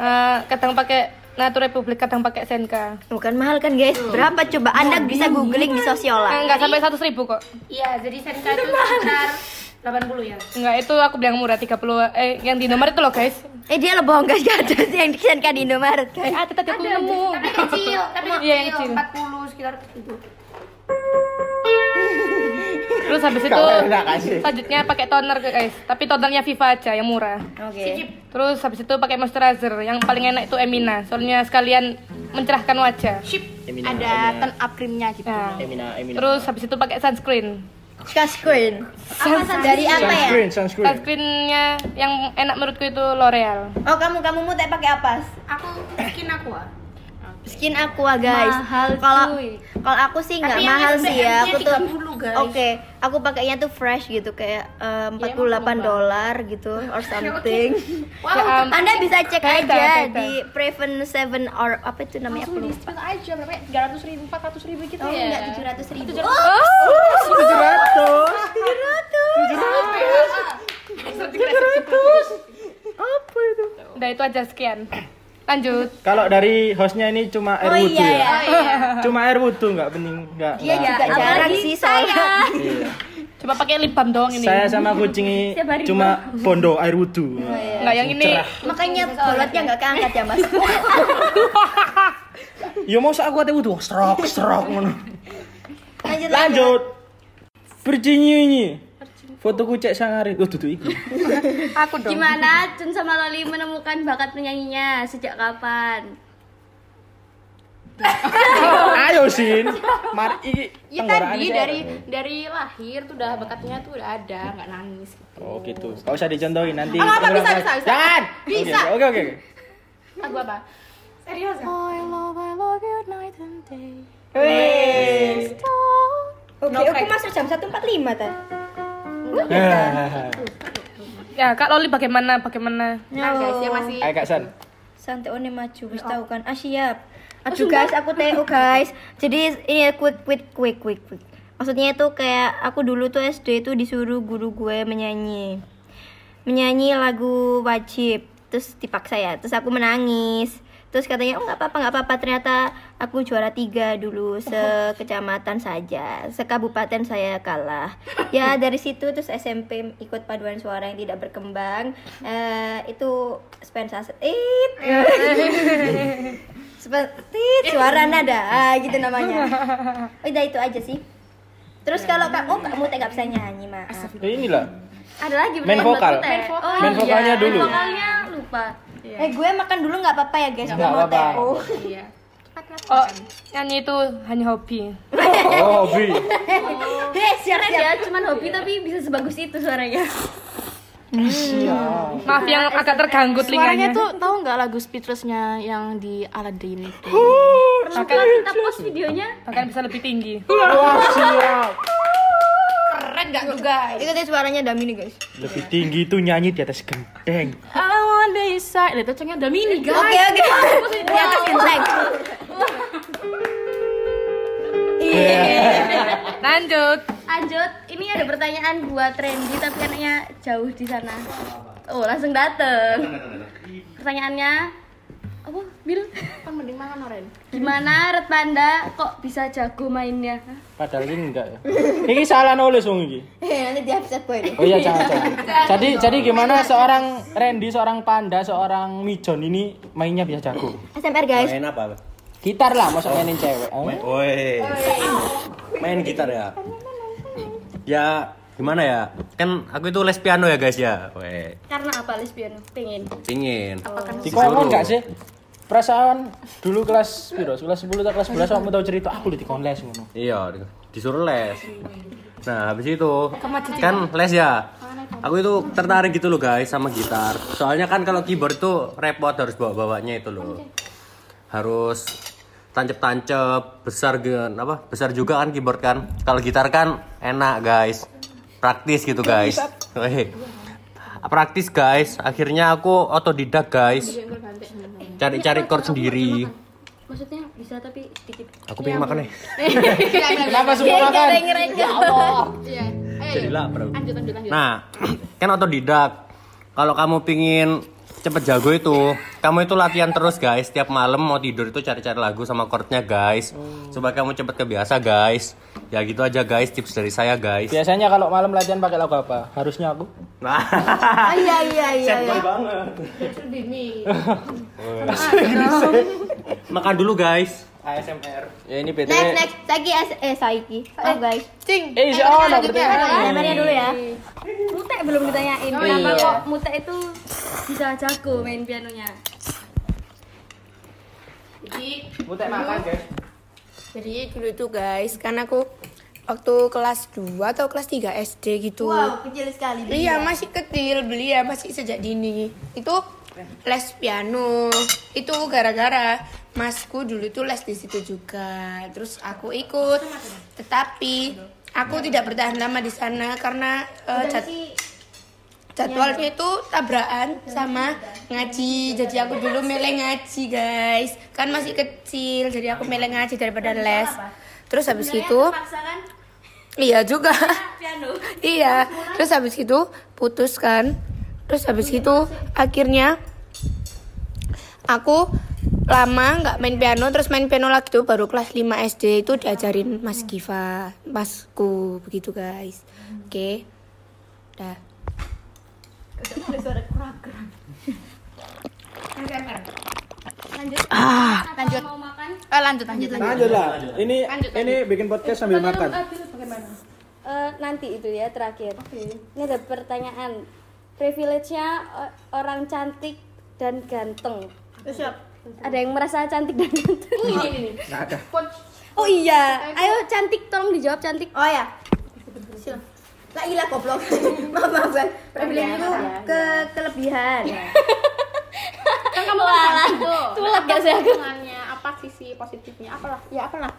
G: Eh, kadang pakai Natur Republik, kadang pakai Senka.
A: bukan mahal kan guys berapa coba anda bisa googling di sosiola
G: Enggak sampai 100 ribu kok.
B: iya jadi senka itu sekitar 80 ya
G: Enggak, itu aku bilang murah 30 eh yang di nomor itu loh, guys.
A: eh dia lo bohong guys gak ada sih yang dikisankan di Indomaret
G: Eh,
A: guys
G: ada tadi aku nemu.
B: tapi kecil tapi
G: Iya, yang
B: kecil
G: kecil.
B: 40 sekitar itu
G: Terus habis itu
C: Kamu enak kan kasih.
G: selanjutnya pakai toner, guys. Tapi tonernya Viva aja yang murah.
A: oke
G: Terus habis itu pakai moisturizer. Yang paling enak itu Emina. Soalnya sekalian mencerahkan wajah.
H: Ship ada turn up creamnya gitu.
G: Nah,
C: Emina Emina.
G: terus habis itu pakai sunscreen.
A: sunscreen dari apa ya
C: sunscreen sunscreen.
G: Sunscreennya yang enak menurutku itu L'Oreal.
A: oh kamu kamu mau pakai apa
B: aku skin aku ah.
A: skin aqua guys
F: Mahal,
A: kalau
F: cuy.
A: kalau aku sih nggak
B: yang
A: mahal sih ya aku
B: SPM-nya
A: tuh
B: 30, guys.
A: oke aku pakainya tuh fresh gitu kayak eh, 48 dolar gitu or something
B: wow
G: Ya, am-
A: anda bisa cek
G: Kayak
A: aja
G: kayak kayak.
A: di Preven 7 or apa itu namanya aku lupa
H: Cepat aja berapa ya? 300 ribu, 400 ribu gitu
A: oh
H: ya.
A: enggak 700 ribu oh
C: 700.
A: 700
G: Udah itu aja sekian. Lanjut.
C: Kalau dari hostnya ini cuma air
A: oh
C: wudhu
A: iya ya
C: ya. Cuma air wudhu enggak bening enggak.
H: Iya,
A: dia
C: enggak-
A: juga
C: enggak.
A: jarang sih soalnya
C: Iya.
G: Coba pakai lip balm doang ini.
C: Saya sama kucing ini cuma bondo air wudhu.
H: Iya,
G: Enggak yang ini.
C: Cerah.
A: makanya bolotnya nggak keangkat ya mas
C: Ya mau aku ate wudhu srok srok ngono.
A: lanjut
C: Lanjut. Berjinyi ini. Foto kucek sangari. Oh duduk iki.
F: Gimana Cun sama Loli menemukan bakat penyanyinya sejak kapan?
C: Ayo Sin. Mari iki.
H: Ya
C: tenggorokan
H: tadi
C: saya.
H: dari dari lahir tuh udah bakatnya tuh udah ada, nggak nangis gitu.
C: Oh gitu. Enggak usah dicontohin nanti.
H: Oh, apa,
C: orang
H: bisa,
C: lain-
H: bisa, bisa.
C: Jangan.
H: Bisa.
C: Oke, Oke oke.
H: Lagu apa?
B: serius ya
A: oke aku masuk jam 1.45 tadi
G: Ya, Kak Loli bagaimana? Bagaimana?
H: Nah, guys, ya masih
C: Ayo Kak San.
A: Santai one maju wis tahu kan. Ah siap.
H: Oh,
A: Aduh guys, aku TO guys. Jadi ini quick quick quick quick quick. Maksudnya itu kayak aku dulu tuh SD itu disuruh guru gue menyanyi. Menyanyi lagu wajib. Terus dipaksa ya. Terus aku menangis. Terus katanya, oh nggak apa-apa, nggak apa-apa. Ternyata aku juara tiga dulu sekecamatan saja, sekabupaten saya kalah. Ya dari situ terus SMP ikut paduan suara yang tidak berkembang. Eh itu spensas, it, seperti suara nada Ah, gitu namanya. Udah itu Oh, aja sih. Terus kalau kamu oh, kamu tak bisa nyanyi, Mak.
C: Ya inilah.
F: ada lagi
C: Main
F: berarti Mbak
C: vokal.
F: Tute.
H: Main vokal.
F: oh,
C: Main
F: iya.
C: vokalnya dulu.
F: Main vokalnya lupa
A: Eh, gue makan dulu nggak apa-apa ya, guys. Gue
C: Nggak
A: mau
C: apa-apa.
A: teh. Oh.
H: Iya.
I: Oh, nyanyi itu hanya hobi.
C: Oh, hobi.
A: Hei, Eh, siap,
F: keren
A: siap.
F: ya cuman hobi tapi bisa sebagus itu suaranya
I: Maaf yang agak terganggu telinganya.
H: Suaranya tuh tahu nggak lagu speechlessnya yang di Aladdin itu?
F: Perlu lah kita post videonya
I: Bahkan bisa lebih tinggi.
C: Wah, siap.
B: Keren gak tuh guys?
A: Ikutin suaranya Dami nih, guys.
C: Lebih tinggi itu nyanyi di atas genteng.
H: I want this side. Itu cengnya ada mini guys.
A: Oke, oke. Di atas genteng.
C: Iya.
A: Iya.
I: Lanjut.
F: lanjut ini ada pertanyaan buat Randy tapi anaknya jauh di sana oh langsung dateng pertanyaannya apa Bil
H: Kan mending mangan oren.
F: gimana Red Panda kok bisa jago mainnya
C: Padahal ini enggak ya. Ini salah nulis wong iki.
A: Eh, Nanti di episode gue ini.
C: Oh iya, jangan jangan. Jadi jadi gimana seorang Randy, seorang Panda, seorang Mijon ini mainnya bisa jago.
A: SMR, guys.
D: Main apa?
C: Gitar lah, masa mainin cewek. Eh?
D: Woi. Main gitar ya. Ya gimana ya? Kan aku itu les piano ya guys ya. Woi.
F: karena apa lesbian pengen
D: Pingin.
C: Dikongon enggak sih? Perasaan dulu kelas piro? Kelas 10 atau kelas 11 kamu tahu cerita aku udah dikon les ngono.
D: Iya, disuruh les. Nah, habis itu kan les ya. Aku itu tertarik gitu loh guys sama gitar. Soalnya kan kalau keyboard tuh repot harus bawa-bawanya itu loh. Harus tancep-tancep, besar gen apa? Besar juga kan keyboard kan. Kalau gitar kan enak guys. Praktis gitu guys. Weh. Praktis guys. Akhirnya aku otodidak guys. Cari-cari chord sendiri.
F: maksudnya bisa tapi sedikit
D: Iya, Aku pengen makan nih.
C: Kenapa semua makan? Ya
D: Jadi lapar. aku.
H: Lanjut lanjut
A: Iya.
H: lanjut.
D: Nah, kan otodidak. Kalau kamu pingin cepet jago itu, kamu itu latihan terus guys. Tiap malam mau tidur itu cari-cari lagu sama chordnya guys.
A: Oh.
D: Supaya kamu cepet kebiasa guys. Ya gitu aja guys, tips dari saya guys.
A: Iya.
C: Biasanya kalau malam latihan pakai lagu apa? Harusnya aku.
D: Nah,
A: Ah, Iya, iya, iya. iya.
D: makan dulu guys.
C: ASMR. Ya ini BTW.
A: Next, next. Saiki S- eh Saiki. Oh, guys.
C: Eh, isi ono
A: SMR-nya dulu ya.
F: mute belum ditanyain kenapa kok mute itu bisa jago main pianonya
C: makan, guys.
B: Jadi dulu itu guys, kan aku waktu kelas 2 atau kelas 3 SD gitu.
A: Wow, kecil sekali. ya?
B: Iya, masih kecil beli ya, masih sejak dini. Itu les piano. Itu gara-gara masku dulu itu les di situ juga. Terus aku ikut. Tetapi
A: Iya.
B: aku tidak bertahan lama di sana karena eh, jad- jadwalnya itu tabrakan sama ngaji. Jadi aku dulu milih ngaji, guys. Kan masih kecil, jadi aku milih ngaji daripada les. Terus habis itu
F: kan
B: Iya juga.
F: piano
B: Iya, terus habis itu putus kan. Terus habis itu akhirnya aku lama nggak main piano terus main piano lagi tuh baru kelas 5 SD itu diajarin Mas Giva, Masku begitu guys. Oke. Dah.
F: lanjut mau makan
H: Eh, lanjut lanjut lanjut.
C: Lanjut lah. Ini ini bikin podcast sambil makan.
F: Eh, nanti itu ya terakhir. Ini ada pertanyaan. Privilege-nya o- orang cantik dan ganteng. Ada yang merasa cantik dan ganteng? Oh iya. Ayo cantik tolong dijawab cantik.
A: Oh ya. Lah ilah goblok. maaf maaf kan. Privilege itu ke kelebihan.
H: Kan kamu kan
F: Iya. Tulak gak sih aku?
H: apa sisi positifnya? Apalah
A: Ya apalah.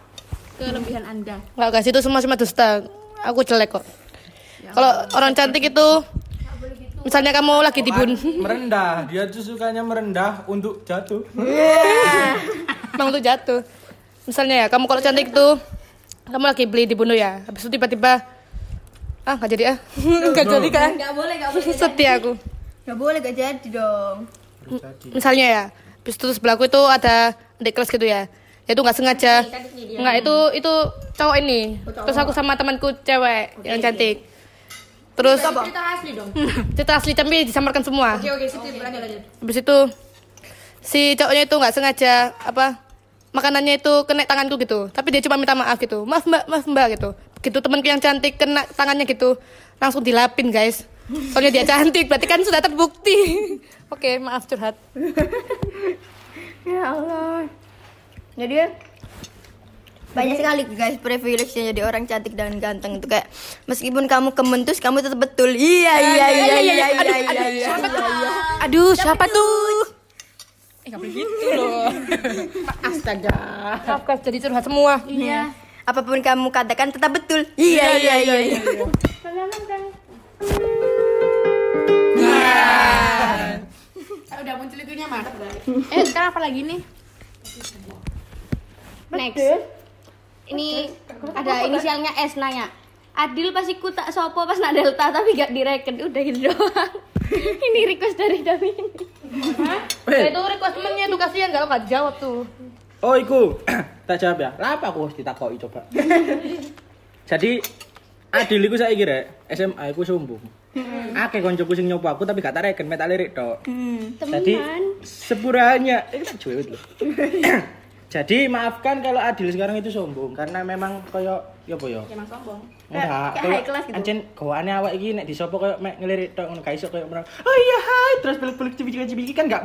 H: kelebihan Anda.
I: Enggak guys, itu semua cuma dusta. Aku jelek kok.
A: Ya
I: Kalau orang cantik itu misalnya kamu lagi dibun,
C: Merendah, dia tuh sukanya merendah untuk jatuh.
I: emang tuh jatuh. Misalnya ya, kamu kalau cantik tuh kamu lagi beli dibunuh ya. Habis itu tiba-tiba ah nggak jadi ah nggak jadi kan
F: Gak boleh, gak boleh.
I: sedih aku
A: Gak boleh gak jadi dong.
I: misalnya ya bis itu sebelahku itu ada adik kelas gitu ya itu nggak sengaja nggak itu itu cowok ini terus aku sama temanku cewek yang cantik terus
H: Kita asli dong.
I: cerita asli tapi disamarkan semua
H: Oke, situ lanjut lanjut.
I: habis itu si cowoknya itu nggak
H: Ah,
I: sengaja apa makanannya itu kena tanganku gitu tapi dia cuma minta maaf gitu maaf mbak maaf mbak gitu
H: gitu temanku yang cantik kena tangannya gitu langsung dilapin guys soalnya dia cantik berarti kan sudah terbukti oke maaf curhat
A: Ya Allah. Jadi banyak sekali guys privilege-nya jadi orang cantik dan ganteng itu kayak meskipun kamu kementus kamu tetap betul. Iya iya iya iya iya iya. iya.
H: aduh siapa tuh eh nggak begitu loh astaga maaf guys jadi curhat semua
A: Apapun kamu katakan tetap betul. Iya iya iya. iya.
B: Udah muncul itunya mah. Eh, sekarang apa lagi nih?
F: Next. Ini ada inisialnya S nanya. Adil pasti ku tak sopo pas nak delta tapi gak direken udah gitu doang. ini request dari Damin.
H: Ya, itu request temennya tuh kasihan gak nggak jawab tuh
C: Oh iku tak jawab ya. Lah apa aku harus ditakoki coba. Jadi Adil iku saiki rek, SMA iku sombong. Akeh koncoku sing nyopo aku tapi gak tak reken metal lirik tok. Jadi sepuranya eh tak jawab lho. Jadi maafkan kalau Adil sekarang itu sombong karena memang koyo ya apa ya? Memang sombong. Enggak, koyo
A: gitu.
C: ancen gawane awak iki nek disopo koyo mek ngelirik tok ngono gak iso koyo merang. Oh iya hai terus peluk-peluk cibi-cibi kan gak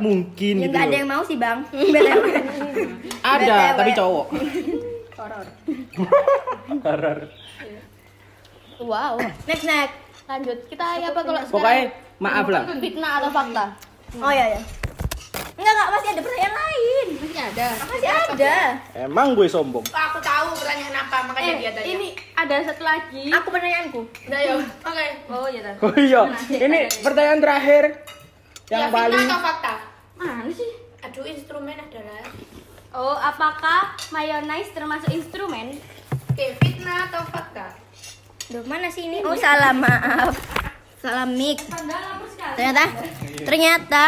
A: Ya
C: mungkin gitu.
A: nggak ada
C: loh.
A: yang mau sih bang. BTW.
C: Ada, tapi cowok. Horor. Horor.
F: Wow.
A: Next next.
F: Lanjut. Kita ya apa kalau
C: Pokoknya
F: sekarang
C: maaf lah.
F: fitnah atau fakta?
A: Oh iya iya. Enggak enggak masih ada pertanyaan lain.
B: Masih ada.
A: Masih ada.
C: Emang gue sombong.
B: Aku tahu pertanyaan apa, makanya
A: Eh,
B: dia tanya. Ini
F: ada satu lagi.
A: Aku pertanyaanku.
B: udah yuk. Oke.
F: Oh iya.
B: Nah.
F: dah.
C: Oh iya, ini pertanyaan terakhir yang
B: Ya,
C: paling
B: fitnah atau fakta?
F: Mana sih?
B: Aduh, instrumen adalah
F: Oh, apakah mayonnaise termasuk instrumen?
B: Oke, fitnah atau fakta?
A: Duh, mana sih ini? Oh, salah, maaf. Salah mic. Ternyata ternyata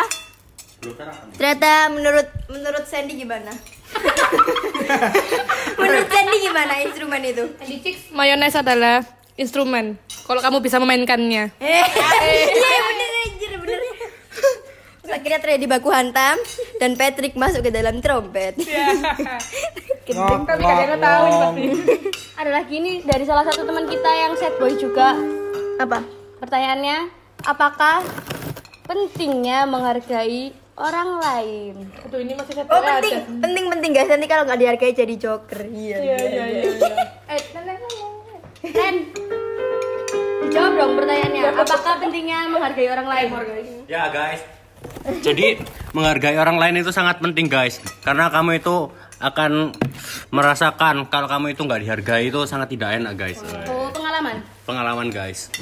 A: ternyata menurut menurut Sandy gimana? menurut Sandy gimana instrumen itu?
H: mayones adalah instrumen kalau kamu bisa memainkannya
A: Eh, Iya bener anjir, bener. Terus akhirnya Freddy baku hantam dan Patrick masuk ke dalam trompet.
C: ngok, ngok, ngok.
F: Ada lagi ini dari salah satu teman kita yang set boy juga.
A: Apa?
F: Pertanyaannya, apakah pentingnya menghargai orang lain?
B: Aduh, ini masih satu.
A: Oh penting, penting penting guys. Nanti kalau nggak dihargai jadi joker. Iya.
B: iya, iya, iya. Eh, nenek,
F: Ren, jawab dong pertanyaannya. Apakah pentingnya menghargai orang lain?
D: Ya guys. Jadi menghargai orang lain itu sangat penting guys. Karena kamu itu akan merasakan kalau kamu itu nggak dihargai itu sangat tidak enak guys.
F: Oh, pengalaman
D: Pengalaman guys.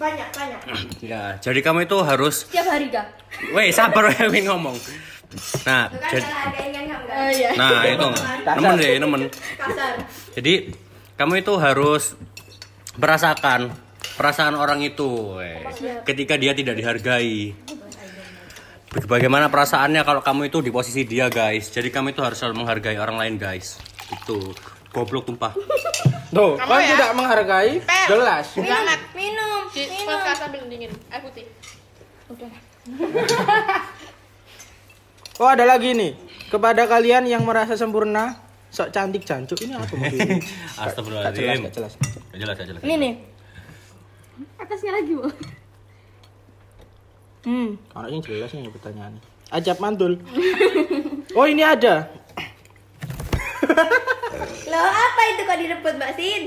A: Banyak banyak.
D: Ya, jadi kamu itu harus
F: tiap hari kah?
D: Weh, sabar weh Win ngomong. Nah,
A: kan
D: jadi
A: Oh iya.
D: nah itu nemen deh, nemen.
A: Kasar.
D: Jadi kamu itu harus merasakan perasaan orang itu weh, ketika dia tidak dihargai. Bagaimana perasaannya kalau kamu itu di posisi dia, guys? Jadi kamu itu harus selalu menghargai orang lain, guys. Itu goblok tumpah.
C: Tuh, kan
B: ya?
C: tidak menghargai jelas.
A: Minum.
B: Di podcast sambil dingin. Air putih.
C: Oh, ada lagi nih. Kepada kalian yang merasa sempurna, sok cantik jancuk ini apa maksudnya? Gak jelas,
D: Astagfirullahaladzim.
C: gak jelas.
D: Gak jelas, gak jelas.
A: Ini nih.
F: Atasnya lagi, Bu.
A: Hmm.
C: Anaknya jelas nih pertanyaannya. Ajab mantul. Oh, ini ada.
A: Loh, apa itu kok direbut, Mbak Sin?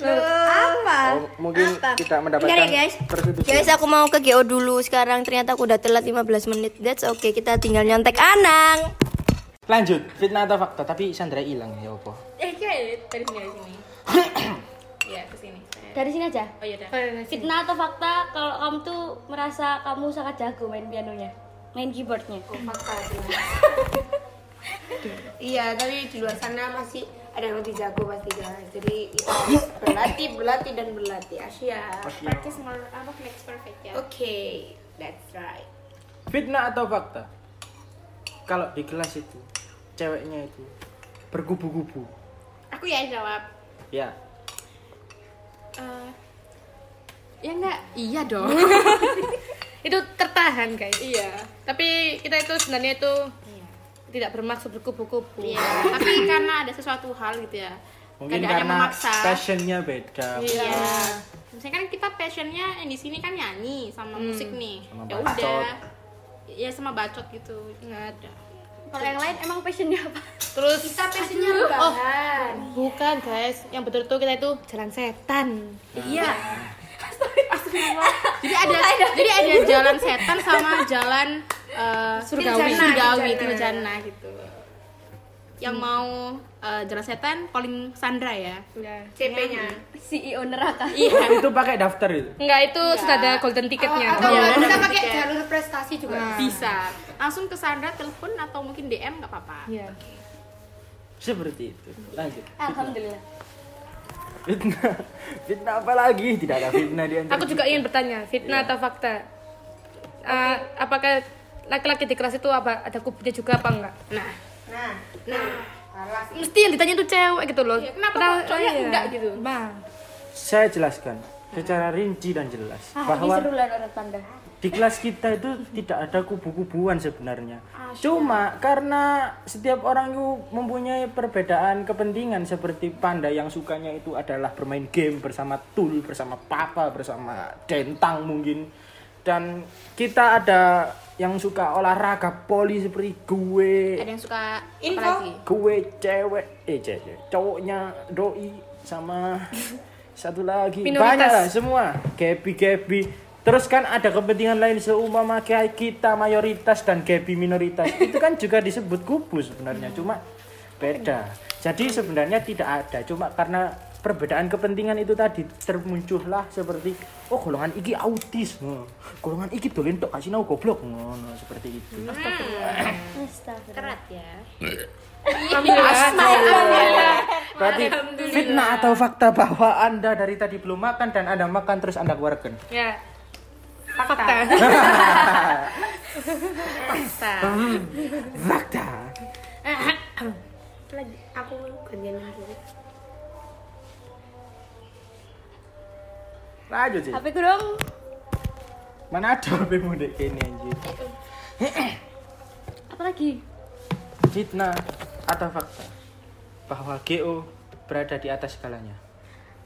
A: Loh, apa?
C: Oh, mungkin
A: apa?
C: tidak mendapatkan
A: Bentar ya, guys.
C: persetujuan.
A: Guys, aku mau ke GO dulu. Sekarang ternyata aku udah telat 15 menit. That's okay. Kita tinggal nyontek Anang.
C: Lanjut, fitnah atau fakta, tapi Sandra hilang ya opo.
B: Eh, kira dari sini, dari sini. Iya, ke sini.
F: Dari sini aja.
B: Oh, iya, dah.
F: Fitnah atau fakta kalau kamu tuh merasa kamu sangat jago main pianonya, main keyboardnya.
J: Iya, tapi di luar sana masih ada yang lebih jago pasti guys. Jadi kita harus berlatih, berlatih dan berlatih. Asia.
B: Practice more, apa makes perfect ya?
J: Oke, that's right.
C: Fitnah atau fakta? Kalau di kelas itu ceweknya itu berkubu-kubu.
B: Aku ya jawab.
C: Ya.
B: Eh, ya enggak? Iya dong.
H: itu tertahan guys
B: iya.
H: tapi kita itu sebenarnya Iya. itu tidak bermaksud berkupu-kupu
B: Iya. Tapi karena ada sesuatu hal gitu ya.
C: mungkin
H: Tidak ada yang
C: karena
H: memaksa.
C: passionnya beda
H: Iya. Misalnya kan kita passionnya yang di sini kan nyanyi sama musik nih.
C: Hmm. Sama
H: Ya
C: bacot.
H: udah. Ya sama bacot gitu. Enggak ada.
F: Kalau yang lain emang passionnya apa?
G: Terus Oh.
B: Kita passionnya rebahan.
G: bukan guys, yang betul tuh kita itu jalan setan.
C: Nah.
F: Iya.
H: Jadi ada jadi ada jalan setan sama jalan eh, surgawi, surgawi tirjana
G: Iya.
H: gitu. Yang mau eh, jalan setan calling Sandra ya.
G: Iya.
B: CP-nya.
F: CEO neraka.
H: Iya.
C: itu pakai daftar itu
G: Enggak, itu sudah ada golden ticketnya.
B: Atau bisa pakai jalur prestasi juga.
G: Iya.
H: Bisa. Langsung ke Sandra telepon atau mungkin DM nggak apa-apa.
G: Iya.
C: seperti itu lanjut
F: Alhamdulillah.
C: fitnah fitnah apa lagi tidak ada fitnah di antara
G: Aku juga ingin bertanya, fitnah atau fakta? Eh, apakah laki-laki di kelas itu apa ada kubunya juga apa enggak?
H: Nah,
B: Nah,
G: Mesti yang ditanya itu cewek gitu loh.
H: kenapa
G: Pernah-
H: kok cowoknya
G: iya.
H: enggak gitu?
G: Bang.
C: saya jelaskan secara rinci dan jelas bahwa di kelas kita itu tidak ada kubu-kubuan sebenarnya. Cuma karena setiap orang itu mempunyai perbedaan kepentingan seperti panda yang sukanya itu adalah bermain game bersama Tul, bersama Papa, bersama Dentang mungkin. Dan kita ada yang suka olahraga poli seperti gue,
H: ada yang suka
B: Info?
H: apa lagi?
C: gue cewek, eh cewek, cowoknya doi sama satu lagi
G: Minoritas.
C: banyak lah semua gabi gabi terus kan ada kepentingan lain seumpama kayak kita mayoritas dan gabi minoritas itu kan juga disebut kubu sebenarnya cuma beda jadi sebenarnya tidak ada cuma karena perbedaan kepentingan itu tadi termuncullah seperti oh golongan iki autis ngono. golongan iki dolen tok kasih nau goblok ngono seperti itu
F: Astagfirullah.
C: berarti fitnah atau fakta bahwa anda dari tadi belum makan dan anda makan terus anda keluarkan
G: Ya. Fakta.
C: Hmm. fakta
B: lagi aku gantian lagi.
C: lanjut sih
F: HP ku dong.
C: Mana ada HP-mu dek kene anjir.
F: Apa lagi?
C: Fitnah atau fakta bahwa GO berada di atas segalanya.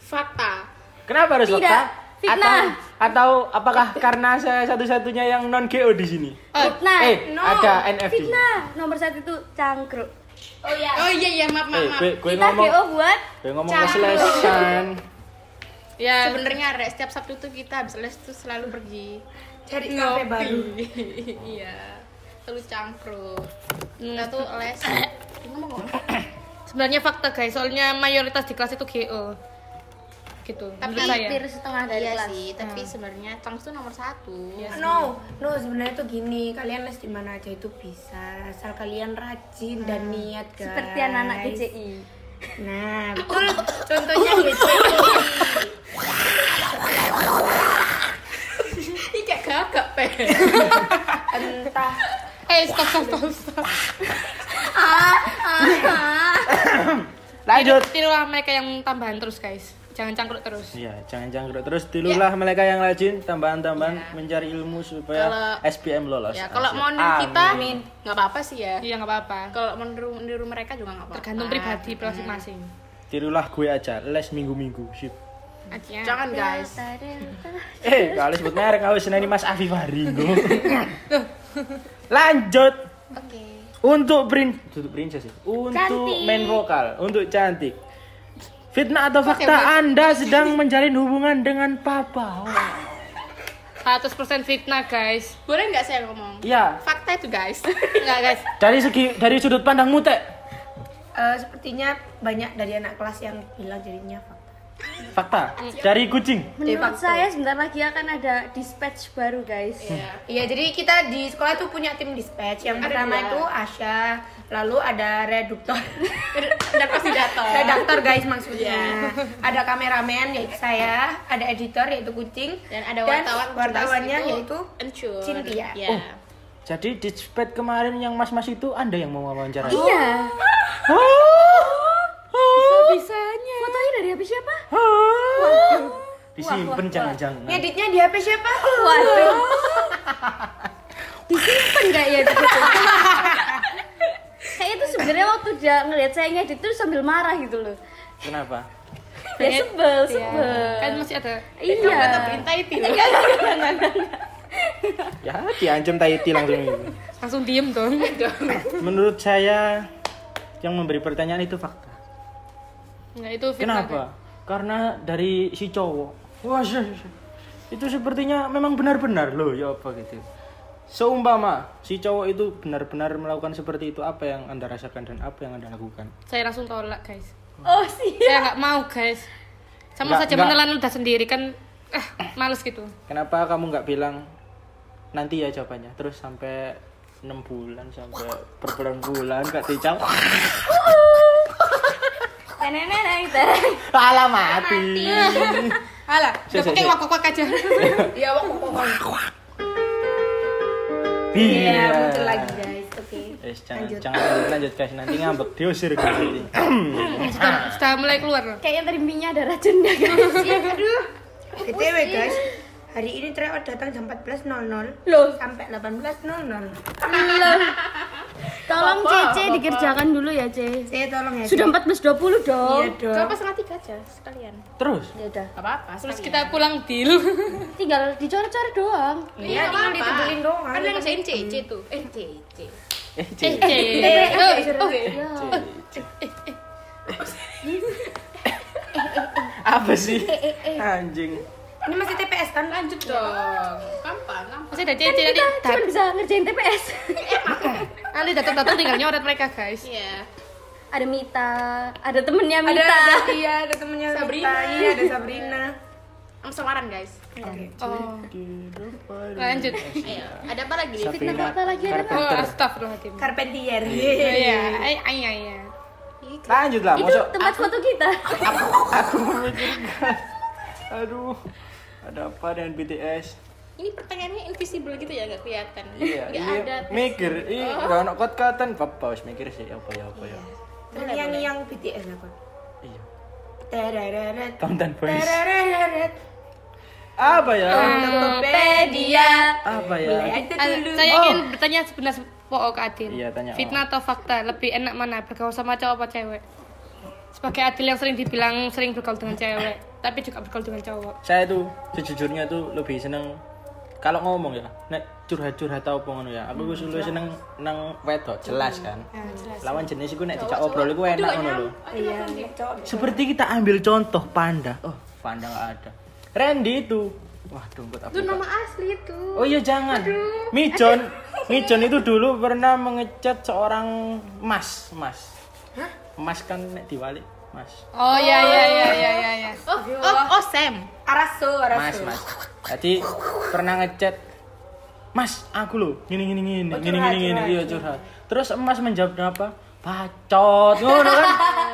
H: Fakta.
C: Kenapa harus
F: Tidak,
C: fakta?
F: fitnah.
C: Atau, atau apakah karena saya satu-satunya yang non GO di sini?
F: Fitnah.
C: eh, ada NFD.
F: Fitnah. Nomor satu itu cangkruk.
B: Oh iya.
H: Oh iya iya maaf maaf.
C: Eh,
H: maaf.
C: gue, gue
F: Kita
C: ngomong
F: GO buat
C: gue ngomong keselesan.
H: Ya sebenarnya Rek, setiap Sabtu tuh kita habis les tuh selalu pergi
B: Cari kafe baru.
H: iya. Terus cangkruk. Kita tuh les. Ngomong ngomong.
G: Hmm. Sebenarnya fakta guys, soalnya mayoritas di kelas itu GO. Gitu.
H: Tapi
G: menurut saya.
H: hampir setengah dari iya sih, tapi sebenarnya Changs tuh nomor satu.
G: Iya
B: No, no sebenarnya tuh gini, kalian les di mana aja itu bisa, asal kalian rajin dan
G: Hmm,
B: niat guys.
F: seperti anak-anak
G: E.
F: BCI.
B: Nah, betul. Contohnya E. BCI.
H: Ini kayak gagak pe.
B: Entah
G: Eh, stop stop stop. stop.
C: Lanjut.
G: Tirulah mereka yang tambahan terus guys. Jangan cangkruk terus.
C: Iya, jangan jangkruk terus tilulah
H: Ya.
C: mereka yang rajin tambahan-tambahan mencari ilmu supaya
H: Kalau-
C: SPM lolos.
H: Ya kalau mau
C: Amin.
H: niru kita nggak apa-apa sih ya.
G: Iya, nggak apa-apa.
H: Kalau meniru meniru mereka juga nggak apa-apa.
G: Tergantung pribadi masing-masing.
C: tirulah gue aja les minggu-minggu. Sip.
H: Jangan guys.
C: Eh, kalau sebut merek aku seneni Mas Afif Haringgo. Lanjut. Untuk prin untuk princess ya. Untuk main vokal, untuk cantik. Fitnah atau fakta Anda sedang menjalin hubungan dengan papa. Oh.
G: 100% fitnah guys.
H: Boleh nggak saya ngomong?
C: Iya,
H: Fakta itu guys.
G: Enggak guys.
C: dari segi dari sudut pandangmu Teh.
B: eh, sepertinya banyak dari anak kelas yang bilang jadinya fakta.
C: Fakta dari kucing.
F: Menurut saya Eh, sebentar lagi akan ada dispatch baru guys.
B: Iya, jadi kita di sekolah tuh punya tim dispatch. Yang pertama itu Asya, lalu ada reduktor dan redaktor. Redaktor guys maksudnya.
H: Iya.
B: Ada kameramen yaitu saya, ada editor yaitu kucing
H: Dan ada wartawan
B: wartawannya
H: itu
B: yaitu
H: Encur.
B: Cynthia. Oh.
H: Iya.
C: Jadi dispatch kemarin yang mas-mas itu Anda yang mau wawancara.
F: Iya.
C: Oh.
F: Bisanya. Fotonya dari HP siapa?
C: Oh. Disimpan jangan-jangan.
B: Ngeditnya di HP siapa?
F: Waduh. Disimpan nggak ya di foto? Kayaknya itu sebenarnya waktu dia ngeliat saya ngedit terus sambil marah gitu loh.
C: Kenapa?
A: Ya sebel, sebel.
G: kan masih ada
A: Iya.
C: Ya diancam Tahiti langsung gitu.
G: langsung diem dong
C: Menurut saya yang memberi pertanyaan itu fakta.
G: nah itu fitnah
C: Kenapa? Karena dari si cowok. Wah, sy- sy- itu sepertinya memang benar-benar loh ya apa gitu. Seumpama si cowok itu benar-benar melakukan seperti itu, apa yang anda rasakan dan apa yang anda lakukan?
G: saya langsung tolak guys
A: Oh sih.
G: saya nggak mau guys sama
C: Nggak,
G: saja
C: nggak.
G: menelan udah sendiri kan eh males gitu
C: Kenapa kamu nggak bilang nanti ya jawabannya? Terus sampai enam bulan sampai berbulan-bulan nggak dijawab.
F: Nah,
A: Nenek-nenek kita.
C: Alah mati.
G: alah
C: Sik,
G: udah
C: sik,
G: pakai
C: sik.
G: wakok aja
B: Ya pokoknya
C: Iya.
B: muncul lagi guys. Oke.
C: Guys, jangan jangan lanjut, lanjut guys nanti ngambek diusir guys nanti.
G: sudah, sudah mulai keluar loh
F: Kayaknya tadi minyak ada ya, kan? racunnya guys.
G: Iya.
B: Aduh. BTW guys, hari ini tryout datang jam 14.00
F: Loh.
B: sampai 18.00.
F: Tolong Cece dikerjakan dulu ya, C.
B: Saya tolong ya.
F: Sudah 14.20 dong.
B: Iya dong.
H: Coba setengah tiga aja sekalian.
C: Terus
F: Ya udah.
H: Gak apa-apa.
G: terus kita pulang deal
F: Tinggal dicore-core doang.
H: Iya, tinggal ditebelin doang. Kan yang ngerjain CC tuh. Eh, CC.
C: eh Ci,
G: eh oh,
C: apa sih? Anjing.
B: Ini masih TPS kan? Lanjut
H: Dong. Gampang, gampang.
G: masih ada cece nanti
F: Cuma bisa ngerjain TPS.
G: nanti datang-datang tinggal nyoret mereka guys
H: Iya.
F: ada Mita, ada temennya
B: Ada,
F: Mita.
B: ada iya, ada temennya
H: Sabrina.
B: Mita, iya, ada Sabrina.
H: Sama selaran, guys.
G: oh lanjut
H: Ayo. Ada apa lagi?
C: Sabrina
F: fakta lagi ada
G: oh
C: Carpenter.
G: astagfirullahaladzim
B: Carpentier.
G: Oh, iya ay ay ay ay.
C: Lanjut lah,
F: Itu
C: masuk.
F: tempat foto kita.
C: Aku memikirkan. Aduh. Ada apa dengan BTS?
H: Ini pertanyaannya invisible gitu ya, nggak kelihatan.
C: Iya,
H: Nggak
C: iya.
H: ada.
C: Mikir, ih, gak ono kot-kotan, papa wis mikir sih apa ya apa ya.
B: Terus yang yang BTS lah kok.
C: Iya.
B: Tereret.
C: Tonton boys.
B: Tereret.
C: Apa ya?
B: Tokopedia.
C: Apa
B: Mulai
C: ya?
B: Eh. aja
G: Ah,
B: dulu.
G: saya ingin bertanya sebenarnya po ke Adil.
C: Oh. Iya, tanya, O.
G: Fitnah atau fakta lebih enak mana bergaul sama cowok apa cewek? Sebagai Adil yang sering dibilang sering bergaul dengan cewek, tapi juga bergaul dengan cowok.
C: Saya tuh sejujurnya tuh lebih seneng kalau ngomong ya, nek curhat-curhat tau apa ngono ya. Aku wis luwih seneng nang wedok, jelas kan. Lawan jenis iku nek dijak obrol iku enak ngono lho. Seperti kita ambil contoh panda. Oh, panda nggak ada. Randy itu. Wah, dompet apa? Itu nama asli itu. Oh iya jangan. Mijon, Mijon itu dulu pernah mengecat seorang mas, mas. Mas kan nek diwalik, mas.
G: Oh iya iya iya iya iya. iya.
H: Oh, oh, oh, Sam.
B: Araso,
C: Mas,
B: Araso.
C: mas. Jadi pernah ngechat Mas, aku loh, gini gini gini,
G: Oh,
C: gini gini gini, iya curhat. Terus Mas menjawabnya apa? Bacot, ngono kan?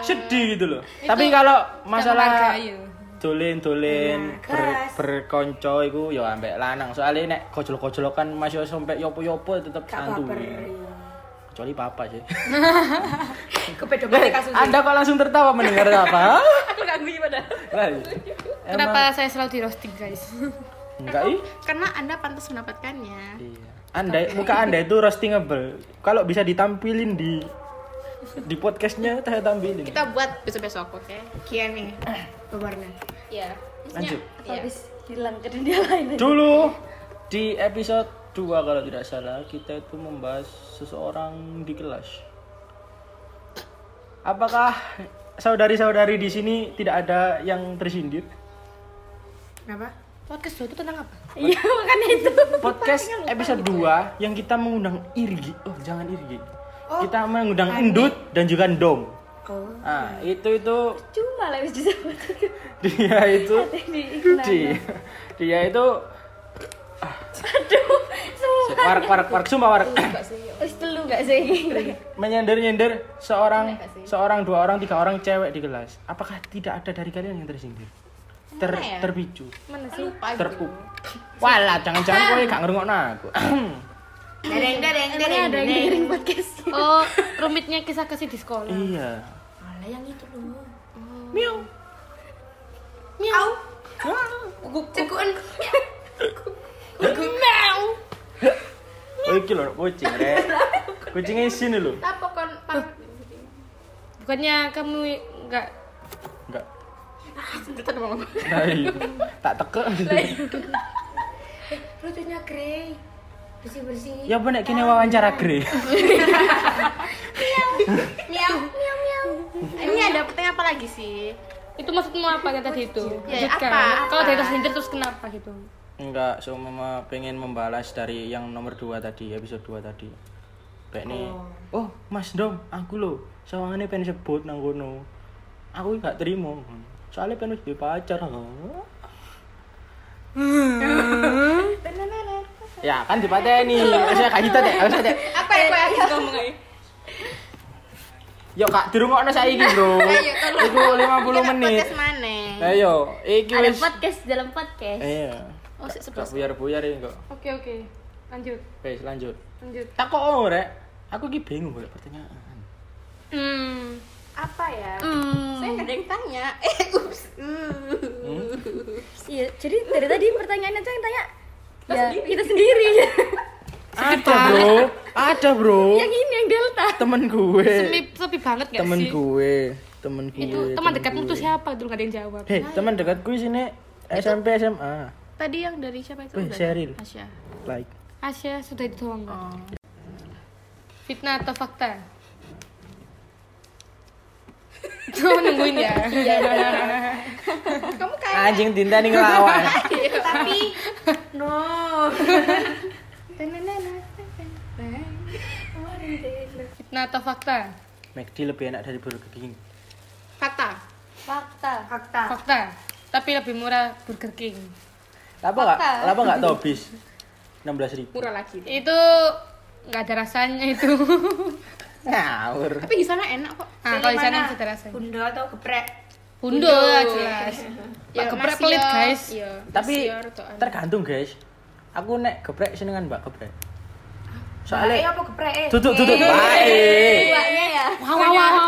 C: Sedih gitu loh. Tapi kalau masalah
G: menghargai, ya. Iya,
C: dolen-dolen ber, berkonco iku ya ambek lanang. Soalnya nek kojol-kojolokan masih sampai yopo-yopo ya tetep santuy.
G: iya.
C: Kecuali papa sih.
B: Kepedo balik kasus.
C: Anda kok langsung tertawa mendengar apa?
H: Aku ganggu pada.
C: Lah, emang-
G: Kenapa saya selalu di roasting guys?
C: Enggak ih.
H: Karena Anda pantas mendapatkannya.
C: Iya. Anda muka Anda itu roastingable. Kalau bisa ditampilin di di podcastnya saya tampilin.
H: Kita buat besok-besok, oke?
B: Kian nih. Ah, Pewarna.
H: Iya.
C: Lanjut.
F: Habis hilang ke dunia lain.
C: Dulu di episode 2 kalau tidak salah kita itu membahas seseorang di kelas. Apakah saudari-saudari di sini tidak ada yang tersindir?
B: Kenapa?
G: Podcast dulu itu tentang apa?
F: Iya, makanya itu.
C: Podcast
F: gitu ya.
C: episode 2 yang kita mengundang Irgi. Oh, jangan Irgi.
F: Oh,
C: Kita mengundang Endut dan juga Ndom.
B: Oh.
C: Nah, itu itu
F: Cuma lah wis disebut.
C: dia itu dia, dia itu
F: Aduh, semua
C: warak warak warak sumpah warak
F: wis telu gak sih?
C: menyender nyender seorang seorang dua orang tiga orang cewek di kelas apakah tidak ada dari kalian yang tersindir ter terpicu
H: ya? Mana sih? Lupa gitu. Ah.
C: terpuk walah jangan jangan kowe gak ngerungokno aku
B: Dereng dereng dereng.
F: Ada yang dengerin podcast.
G: Oh, rumitnya kisah kasih di sekolah.
C: iya
B: Miau. Guguk cekuan.
C: oh iki lho kucing rek kucingnya sini lho
H: Apa kon pang
G: Bukannya kamu nggak
B: Sentutan mau ngomong.
C: Hai. Nah, iya. tak teke
K: Lucunya Grey. Bersih-bersih.
C: ya bener kini wawancara Grey
H: Eh,
B: Ini ada pertanyaan apa lagi sih?
F: Itu maksudmu apa yang tadi itu?
B: Ya,
F: Lanjutkan.
B: apa?
F: Kalau
B: Apa?
F: dari sendiri terus kenapa gitu?
C: enggak seumpama pengen membalas dari yang nomor 2 tadi episode 2 tadi kayak nih oh. mas dom aku lo sawangannya pengen sebut nang kono aku nggak terima soalnya pengen wis duwe pacar ha. ya kan dipateni saya kayak gitu deh harusnya deh
B: Apa
H: Eh,
B: yang kayak
H: iya.
B: gitu ngomong aja?
C: yo kak dirungokno saiki bro iku 50 menit
B: Podcast mana?
C: ayo iki
A: Ada
C: wis
A: podcast dalam podcast.
C: iya
B: Oh, sik
C: gak
B: sebelas.
C: buyar-buyar ini kok
F: Oke oke. Lanjut.
C: Wes lanjut.
F: Lanjut.
C: Tak kok ora. Aku ki bingung golek pertanyaan.
F: Hmm.
B: Apa ya? Saya nggak ada yang tanya.
A: Iya, jadi dari tadi pertanyaannya aja yang tanya ya, kita sendiri.
C: Ada, Bro. Ada, Bro.
A: yang ini yang Delta.
C: Temen gue.
F: Sepi, sepi banget Iya, gak
C: Temen
F: sih?
C: gue. Temen gue.
F: Itu teman dekatmu tuh siapa? Dulu gak ada yang jawab.
C: Hei, teman dekat gue sini SMP SMA.
F: Tadi yang dari siapa itu?
C: Wih, Sheryl.
F: Asya.
C: Like.
F: Asya sudah itu doang kok.
B: Oh.
F: Fitnah atau fakta? Cuma nungguin ya.
C: Anjing Dinda nih ngelawan.
F: Fitnah atau fakta?
C: McD lebih enak dari Burger King.
F: Fakta. Fakta. Fakta. Fakta. Tapi lebih murah Burger King.
C: Lapa enggak? Lapa enggak tobis? 16 ribu.
B: Murah lagi.
F: Itu nggak ada rasanya itu.
C: Ngawur.
B: Tapi di sana enak kok.
F: nah, kalau di sana sudah rasanya.
K: Bunda atau geprek?
F: Bundo lah jelas. Pak geprek
B: masih
F: pelit
B: ya.
F: guys.
B: Iya.
C: Tapi
B: Masih ya, rotokan.
C: tergantung, guys. Aku nek geprek senengan Mbak geprek.
K: Eh
C: Soalnya
K: apa geprek? eh?
C: duduk duduk baik.
A: Duanya ya.
F: Wow wow wow. wow.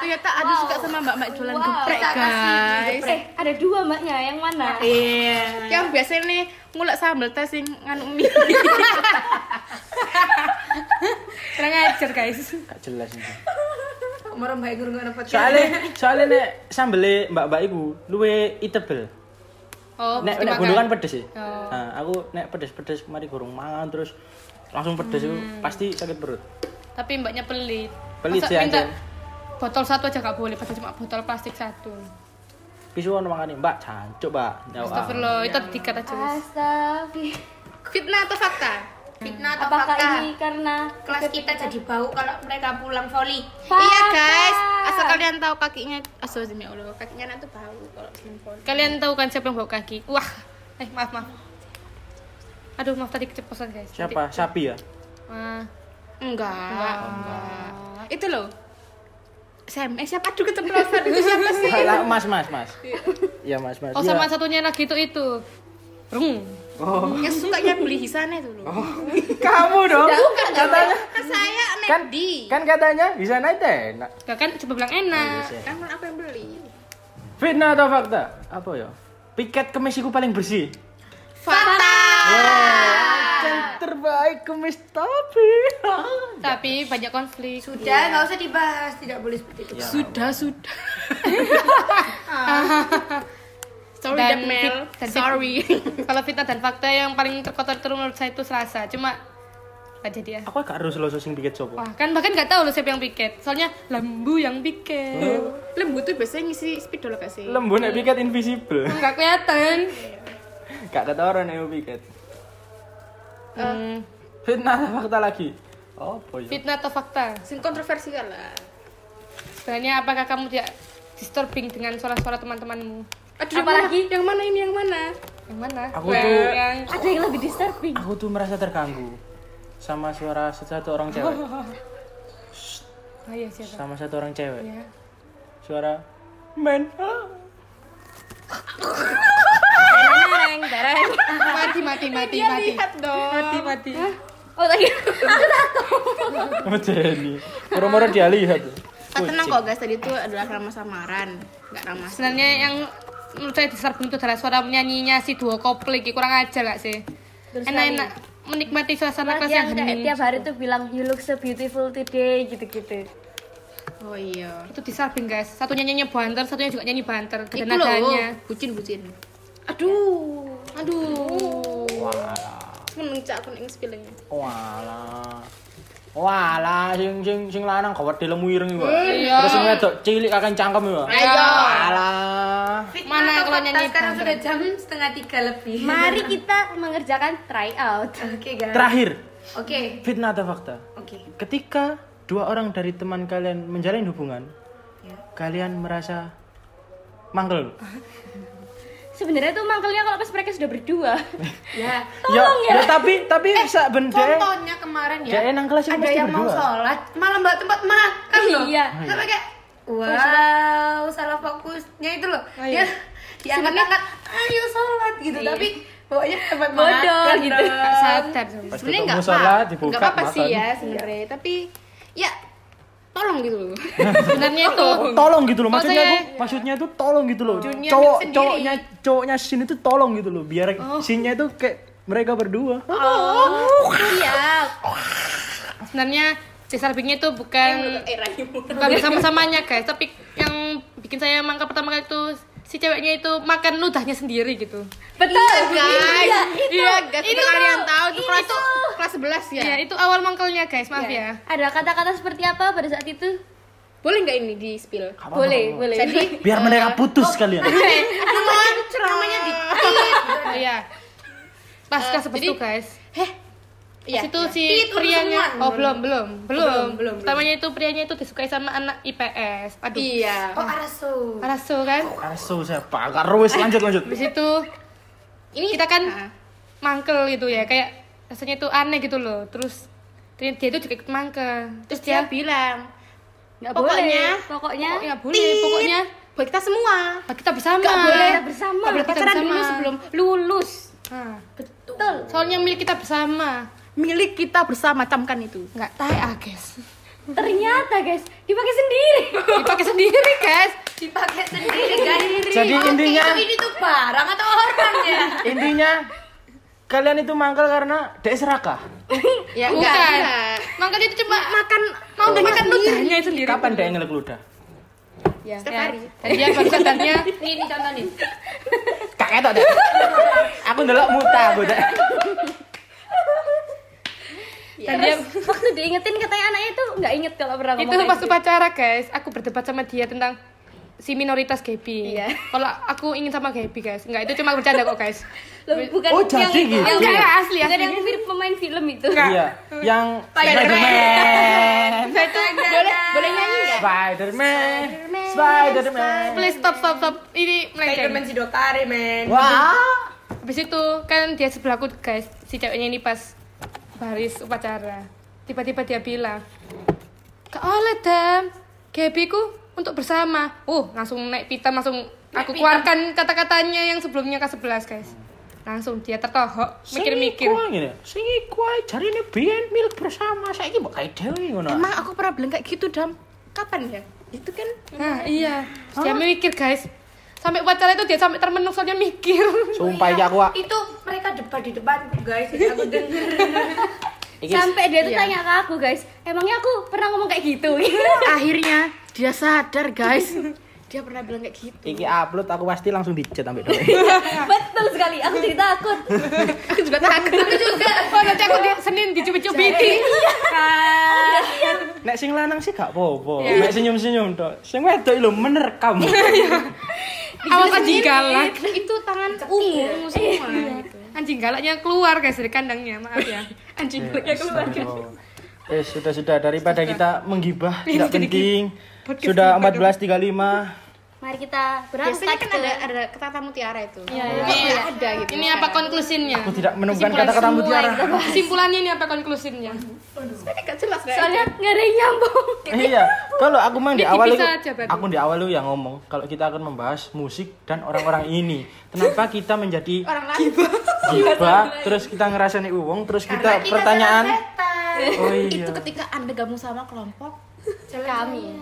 B: Ternyata ya, ada suka sama mbak-mbak jualan geprek guys.
A: Eh, ada dua mbaknya, yang mana?
B: Yang biasanya nih ngulek sambal teh sing nganu mie.
F: Kurang ajar guys.
C: Gak jelas ini.
K: Merem baik guru ngono podcast.
C: soalnya soalnya nek sambele mbak mbak iku luwe itebel
F: Oh,
C: nek
F: mesti
C: nek
F: makan.
C: gunung kan pedes ya
F: Oh.
C: nah, aku nek pedes pedes kemarin gorong mangan terus langsung pedes itu pasti sakit perut
F: Hmm. Tapi mbaknya pelit.
C: Pelit
F: Masa
C: sih,
F: minta
C: anjir.
F: botol satu aja gak boleh, padahal cuma botol plastik satu.
C: pisu ono makan mbak jancuk mbak nyawa
F: Astagfirullah, itu dikat aja wis.
A: Astagfirullah.
B: Fitnah atau fakta? Fitnah atau
A: Apakah
B: fakta?
A: ini karena
K: Kelas kita jadi bau kalau mereka pulang volley.
A: Fakta.
B: Iya guys, asal kalian tahu kakinya Astagfirullahaladzim ya Allah, kakinya anak tuh bau kalau handphone
F: Kalian tahu kan siapa yang bawa kaki? Wah, eh maaf maaf. Aduh maaf tadi keceplosan guys.
C: siapa sapi ya
F: Wah,
B: Enggak Oh, Enggak Itu loh Sam, eh siapa aduh keceplosan itu siapa sih?
C: Lah, mas mas mas ya mas mas
F: Iya. oh
C: iya.
F: sama satunya lagi itu itu. Rung.
B: Yang sukanya beli hisannya itu
F: Oh.
B: loh
C: kamu dong katanya
B: Kan saya
C: kan
B: Medi
C: kan katanya bisa naik teh enak
F: Gak kan coba bilang enak.
B: Kan aku yang beli
C: fitnah atau fakta apa ya piket kemisiku paling bersih
B: Fakta
C: yang terbaik kemis tapi
F: Tapi banyak konflik.
K: Sudah, nggak usah dibahas, tidak boleh seperti itu.
F: Iya.
B: Sudah, sudah Sorry
F: Dan
B: dan Mel
F: fit- dan fit-
B: Sorry
F: Kalau fitnah dan fakta yang paling terkotor itu menurut saya itu Selasa. Cuma gak jadi ya.
C: aku gak harus lo sing piket sopo
F: Wah, kan bahkan gak tahu loh siapa yang piket. Soalnya lembu yang piket.
H: Oh.
B: Lembu tuh biasanya ngisi spidol gak sih?
C: lembu nek piket invisible
F: Enggak kelihatan.
C: gak ketoran ya piket
F: Hmm,
C: fitnah atau fakta lagi apa ya
F: fitnah atau fakta?
B: Sing kontroversial lah
F: Sebenarnya apakah kamu tidak disturbing dengan suara-suara teman-temanmu?
B: Aduh, apalagi yang mana ini yang mana?
F: Yang mana?
C: Aku
F: Yang-
C: tuh-
F: yang
A: ada yang lebih disturbing?
C: aku tuh merasa terganggu sama suara satu orang cewek
F: Oh iya siapa?
C: sama satu orang cewek
F: Ya.
C: suara men Ah.
A: Tereng, tereng.
F: Mati mati mati mati. Mati mati.
A: Oh, tadi.
C: sama Jenny murah-murah dia lihat
B: Kak tenang kok guys, tadi itu adalah drama samaran, nggak drama.
F: Sebenarnya yang menurut saya disturbing itu adalah suara menyanyinya si duo kopling kurang ajar gak sih? Enak-enak menikmati suasana kelas
A: yang
F: yang
A: kayak
F: hening.
A: tiap hari tuh bilang you look so beautiful today gitu-gitu.
H: Oh iya.
G: Itu disabing guys. Satunya nyanyi banter, satunya juga nyanyi banter.
H: Itu
F: Iya,
G: Dan
H: loh,
G: nadanya.
H: bucin-bucin.
G: Aduh.
H: Aduh. Seneng cak aku ning spillingnya.
C: Walah. Walah sing sing sing lanang kok wedi lemu ireng iku.
F: Iya.
C: Terus sing wedok cilik kakek cangkem iku.
H: Ayo.
C: Alah.
H: Mana kalau nyanyi
B: sekarang
H: banter?
B: sudah jam setengah tiga lebih
F: Mari kita mengerjakan tryout.
B: oke guys
C: Terakhir,
B: oke
C: fitnah atau fakta?
B: oke
C: Ketika dua orang dari teman kalian menjalin hubungan,
A: Iya.
C: kalian merasa mangkel.
F: Sebenarnya tuh mangkelnya kalau pas mereka sudah berdua.
B: ya
C: Ya, ya tapi tapi bisa benda.
B: contohnya kemarin ya
C: Kayak enang kelas itu
B: ada
C: mesti
B: yang mau
C: berdua.
B: sholat malah mbak tempat makan loh
F: Iya.
B: sampai kayak wow salah fokusnya itu loh dia diangkat-angkat ayo sholat gitu tapi bawanya tempat makan gitu
G: Sadar.
H: Sebenarnya
C: ketemu
H: nggak
C: sholat,
H: apa,
C: dibuka,
H: nggak apa-apa sih
C: makan.
H: ya sebenarnya. Tapi ya tolong gitu loh. Sebenarnya itu.
C: tolong gitu loh maksudnya
H: Maksudnya-
C: aku- maksudnya itu tolong gitu loh
H: Dunia
C: cowok
H: sendiri.
C: cowoknya cowoknya sin itu tolong gitu loh biar sinnya itu kayak mereka berdua
B: Ah,
H: Iya.
G: Sebenarnya disabingnya itu
F: Eh,
G: bukan
H: Eh,
G: bukan bersama-samanya guys, tapi yang bikin saya mangka pertama kali itu si ceweknya itu makan ludahnya sendiri gitu.
F: Betul
H: Guys, iya guys,
G: Itu
H: itu kalian
G: tuh,
H: tahu itu
G: ini
H: kelas
G: tuh.
H: kelas 11 ya.
G: Iya, itu awal mangkelnya guys, maaf ya.
F: Ada kata-kata seperti apa pada saat itu?
H: Boleh nggak ini di spill?
F: Boleh, boleh.
H: Jadi
C: biar mereka putus kalian
H: namanya di
G: Oh iya. Pas kelas
H: jadi-
G: sebestu guys.
H: Iya.
G: Situ si
B: Tit, udah
G: prianya
B: semua.
G: oh belum belum belum
B: belum, belum.
G: Pertamanya itu prianya itu disukai sama anak IPS. Aduh.
H: Iya.
B: oh arasu
G: Rasu kan.
C: asu saya pakar wes lanjut lanjut
G: Habis itu ini kita kan mangkel gitu ya, kayak rasanya itu aneh gitu loh. Terus dia dia itu juga ikut mangkel. Terus dia
H: Dia bilang,
F: Nggak
H: Pokoknya-
F: boleh. Pokoknya
G: oh, ya boleh, pokoknya
H: buat kita semua.
G: nah, kita bersama.
F: nggak boleh bersama.
G: Nggak boleh
H: Kita
G: pacaran
H: bersama.
G: dulu sebelum
F: Lulus.
G: Nah,
F: Betul.
G: soalnya milik kita bersama.
H: Milik kita bersama camkan itu.
G: Nggak tahu ah guys.
F: Ternyata guys, dipakai sendiri.
G: Dipakai sendiri guys.
B: dipakai sendiri guys
C: jadi
B: Oke,
C: intinya
B: itu ini tuh barang atau orang ya
C: intinya kalian itu mangkel karena dek serakah
H: Ya
G: Bukan.
H: enggak.
G: Makanya itu cuma makan
B: Oh,
G: mau makan ludahnya sendiri.
C: kapan dek ngelek ludah
H: Setiap hari.
G: Dan dia baru sadarnya
B: ini ini contoh nih
C: kakek tuh dek aku ndelok muta aku dek
F: Dan dia waktu diingetin katanya anaknya itu nggak inget kalau pernah
G: itu
F: ngomong kayak
G: waktu
F: gitu.
G: pacara guys aku berdebat sama dia tentang si minoritas Gaby
F: Iya.
G: kalau aku ingin sama Gaby guys nggak itu cuma bercanda kok guys
F: Loh, bukan
C: Oh, jadi
A: Ya,
F: yang,
C: gitu.
F: yang-
G: Enggak, enggak, asli,
F: bukan
G: asli.
F: yang mirip pemain film itu.
C: iya yang Spiderman
B: boleh boleh nyanyi
C: Spiderman Spiderman
G: please stop stop stop ini
B: Spiderman
G: melenceng
B: Sidokari men
C: wah
G: habis itu kan dia sebelahku guys si ceweknya ini pas baris upacara tiba-tiba dia bilang ke oleh dam Gaby ku untuk bersama uh langsung naik pita langsung aku keluarkan kata-katanya yang sebelumnya ke 11 guys langsung dia tertohok mikir-mikir
C: Sing iku ngene. Sing iku ae jarine biyen milik bersama saiki mbok kae dhewe ngono.
H: Emang aku pernah bilang kayak gitu, Dam. Kapan ya? Itu kan
G: Nah, iya. Terus dia mikir, guys. Sampai upacara itu dia sampai termenung soalnya mikir.
C: Sumpah iki aku Wak.
B: itu mereka debat di depanku guys jadi aku denger
F: Sampai dia tuh tanya ke aku guys, emangnya aku pernah ngomong kayak gitu?
H: akhirnya dia sadar, guys. Dia pernah bilang kayak gitu.
C: iki upload aku pasti langsung dicat ambek dhewe.
F: Betul sekali, aku jadi takut.
H: Aku juga takut. Aku juga.
G: Oh, nanti aku di Senin dicubit-cubitin.
C: Nek sing lanang sih gak apa-apa. Nek senyum-senyum tok. Sing wedok lho menerekam.
G: Awas anjing galak.
H: Itu tangan ungu semua.
G: Anjing galaknya keluar, guys, dari kandangnya. Maaf ya. Anjing
C: Iya.
G: galaknya keluar.
C: Eh sudah sudah daripada kita menggibah tidak penting. Sudah 14.35.
F: Mari kita
H: Biasanya
F: berangkat
H: kan
F: ke
H: ada ada kata tamu tiara itu.
F: Iya, iya.
H: Ini ada gitu.
G: Ini apa konklusinya?
C: Aku tidak menemukan kata-kata mutiara.
G: Kesimpulannya ini apa konklusinya?
B: Eh,
H: Sebenarnya nggak jelas kayak
F: soalnya nggak ada yang nyambung.
C: Iya, kalau aku memang di
G: Ini
C: awal itu,
G: bisa aja, Badu.
C: aku di awal lu yang ngomong kalau kita akan membahas musik dan orang-orang ini. Kenapa kita menjadi
H: orang lain.
C: tiba terus kita ngerasain uang terus kita, pertanyaan oh iya
H: Itu kan. ketika Anda gabung sama kelompok
F: Kami.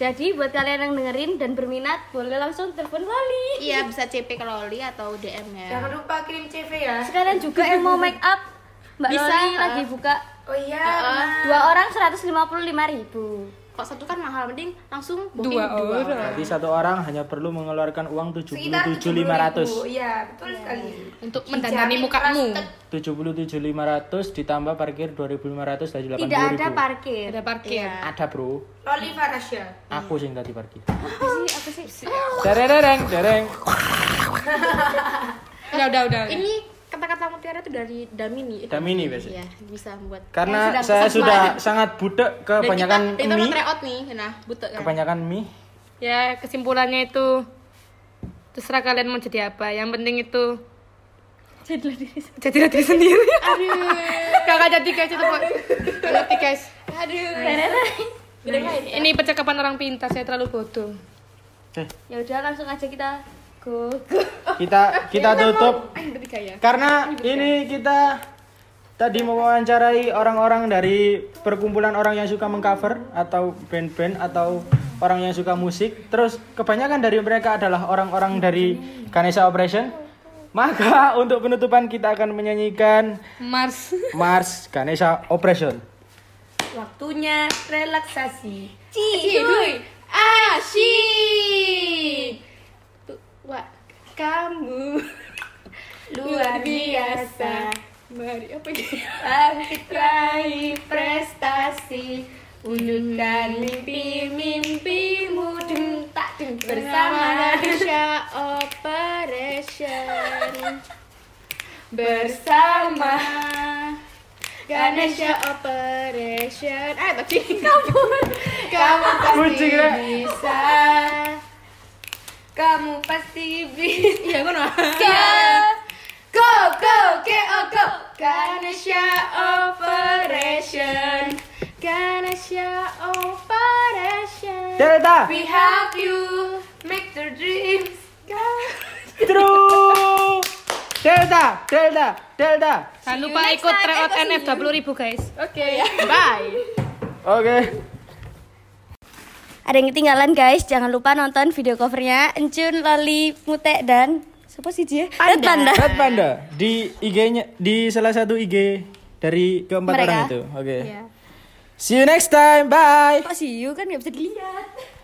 F: Jadi buat kalian yang dengerin dan berminat boleh langsung telepon Loli.
H: Iya bisa CP ke Loli atau DM ya.
B: jangan lupa kirim CV ya
F: Sekalian juga yang mau make up, Mbak
H: Bisa, eh.
F: Loli
H: Kak.
F: lagi buka
B: oh iya
F: dua orang 155.000 ribu.
H: Kok satu kan mahal mending langsung booking
G: Dua oh, orang.
C: Jadi satu orang hanya perlu mengeluarkan uang
B: Sekitar
C: 77.500.
B: 70.000. Iya, betul sekali.
G: Untuk mendandani mukamu.
C: 77.500 ditambah parkir 2.500 dari 80.000.
F: Tidak ada parkir.
G: Ada parkir.
C: Ada, Bro.
B: Loli Farasya.
C: Aku sih yang tadi parkir.
F: Apa sih? Apa sih?
C: Dereng, dereng.
G: Udah, udah, udah.
H: Ini kata-kata mutiara itu dari Damini.
C: Damini biasanya.
H: Iya, bisa membuat.
C: Karena
H: Eh,
C: saya
H: besar
C: sudah
H: banget.
C: sangat budek
H: Dan
C: kebanyakan
H: kita, kita udah
C: mie,
H: tryout nih, nah butuh kan.
C: kebanyakan mie.
G: Ya, kesimpulannya itu terserah kalian mau jadi apa. Yang penting itu jadilah diri sendiri. Aduh. Kakak jadi guys itu kok. Ngerti guys. Aduh. Ini percakapan orang pintar, saya terlalu bodoh.
C: Eh.
F: Ya udah langsung aja kita go go.
C: Kita kita tutup
F: ya.
C: karena ini kita tadi mewawancarai orang-orang dari perkumpulan orang yang suka mengcover atau band-band atau orang yang suka musik. Terus kebanyakan dari mereka adalah orang-orang dari Ganesha Operation. Maka untuk penutupan kita akan menyanyikan
G: Mars.
C: Mars Ganesha Operation.
B: Waktunya relaksasi. Eh,
H: Ciduy asyik. Wah, kamu luar biasa. Mari apa ini?
B: Bangkit raih prestasi Wujudkan mimpi-mimpimu Deng tak deng bersama
H: Bersama Risha Operation
B: Bersama
H: Ganesha Operation Eh tadi kamu Kamu pasti
C: Kucing, Rek.
H: bisa
B: Kamu pasti bisa
H: Iya kan
B: Go, go, go, go Ganesha Operation
H: Ganesha Operation
C: Delta.
B: We help you make the dreams
C: True. Delta, Delta, Delta.
G: Jangan lupa ikut tryout NF 20.000 guys. Iya.
H: Bye
C: Oke.
F: Ada yang ketinggalan guys, jangan lupa nonton video covernya Encun, Loli, Mute dan siapa sih dia? Red Panda.
C: Red Panda di IG-nya di salah satu IG dari keempat
F: Mereka.
C: orang itu. Oke. See you next time. Bye.
F: Kok see you kan nggak bisa dilihat.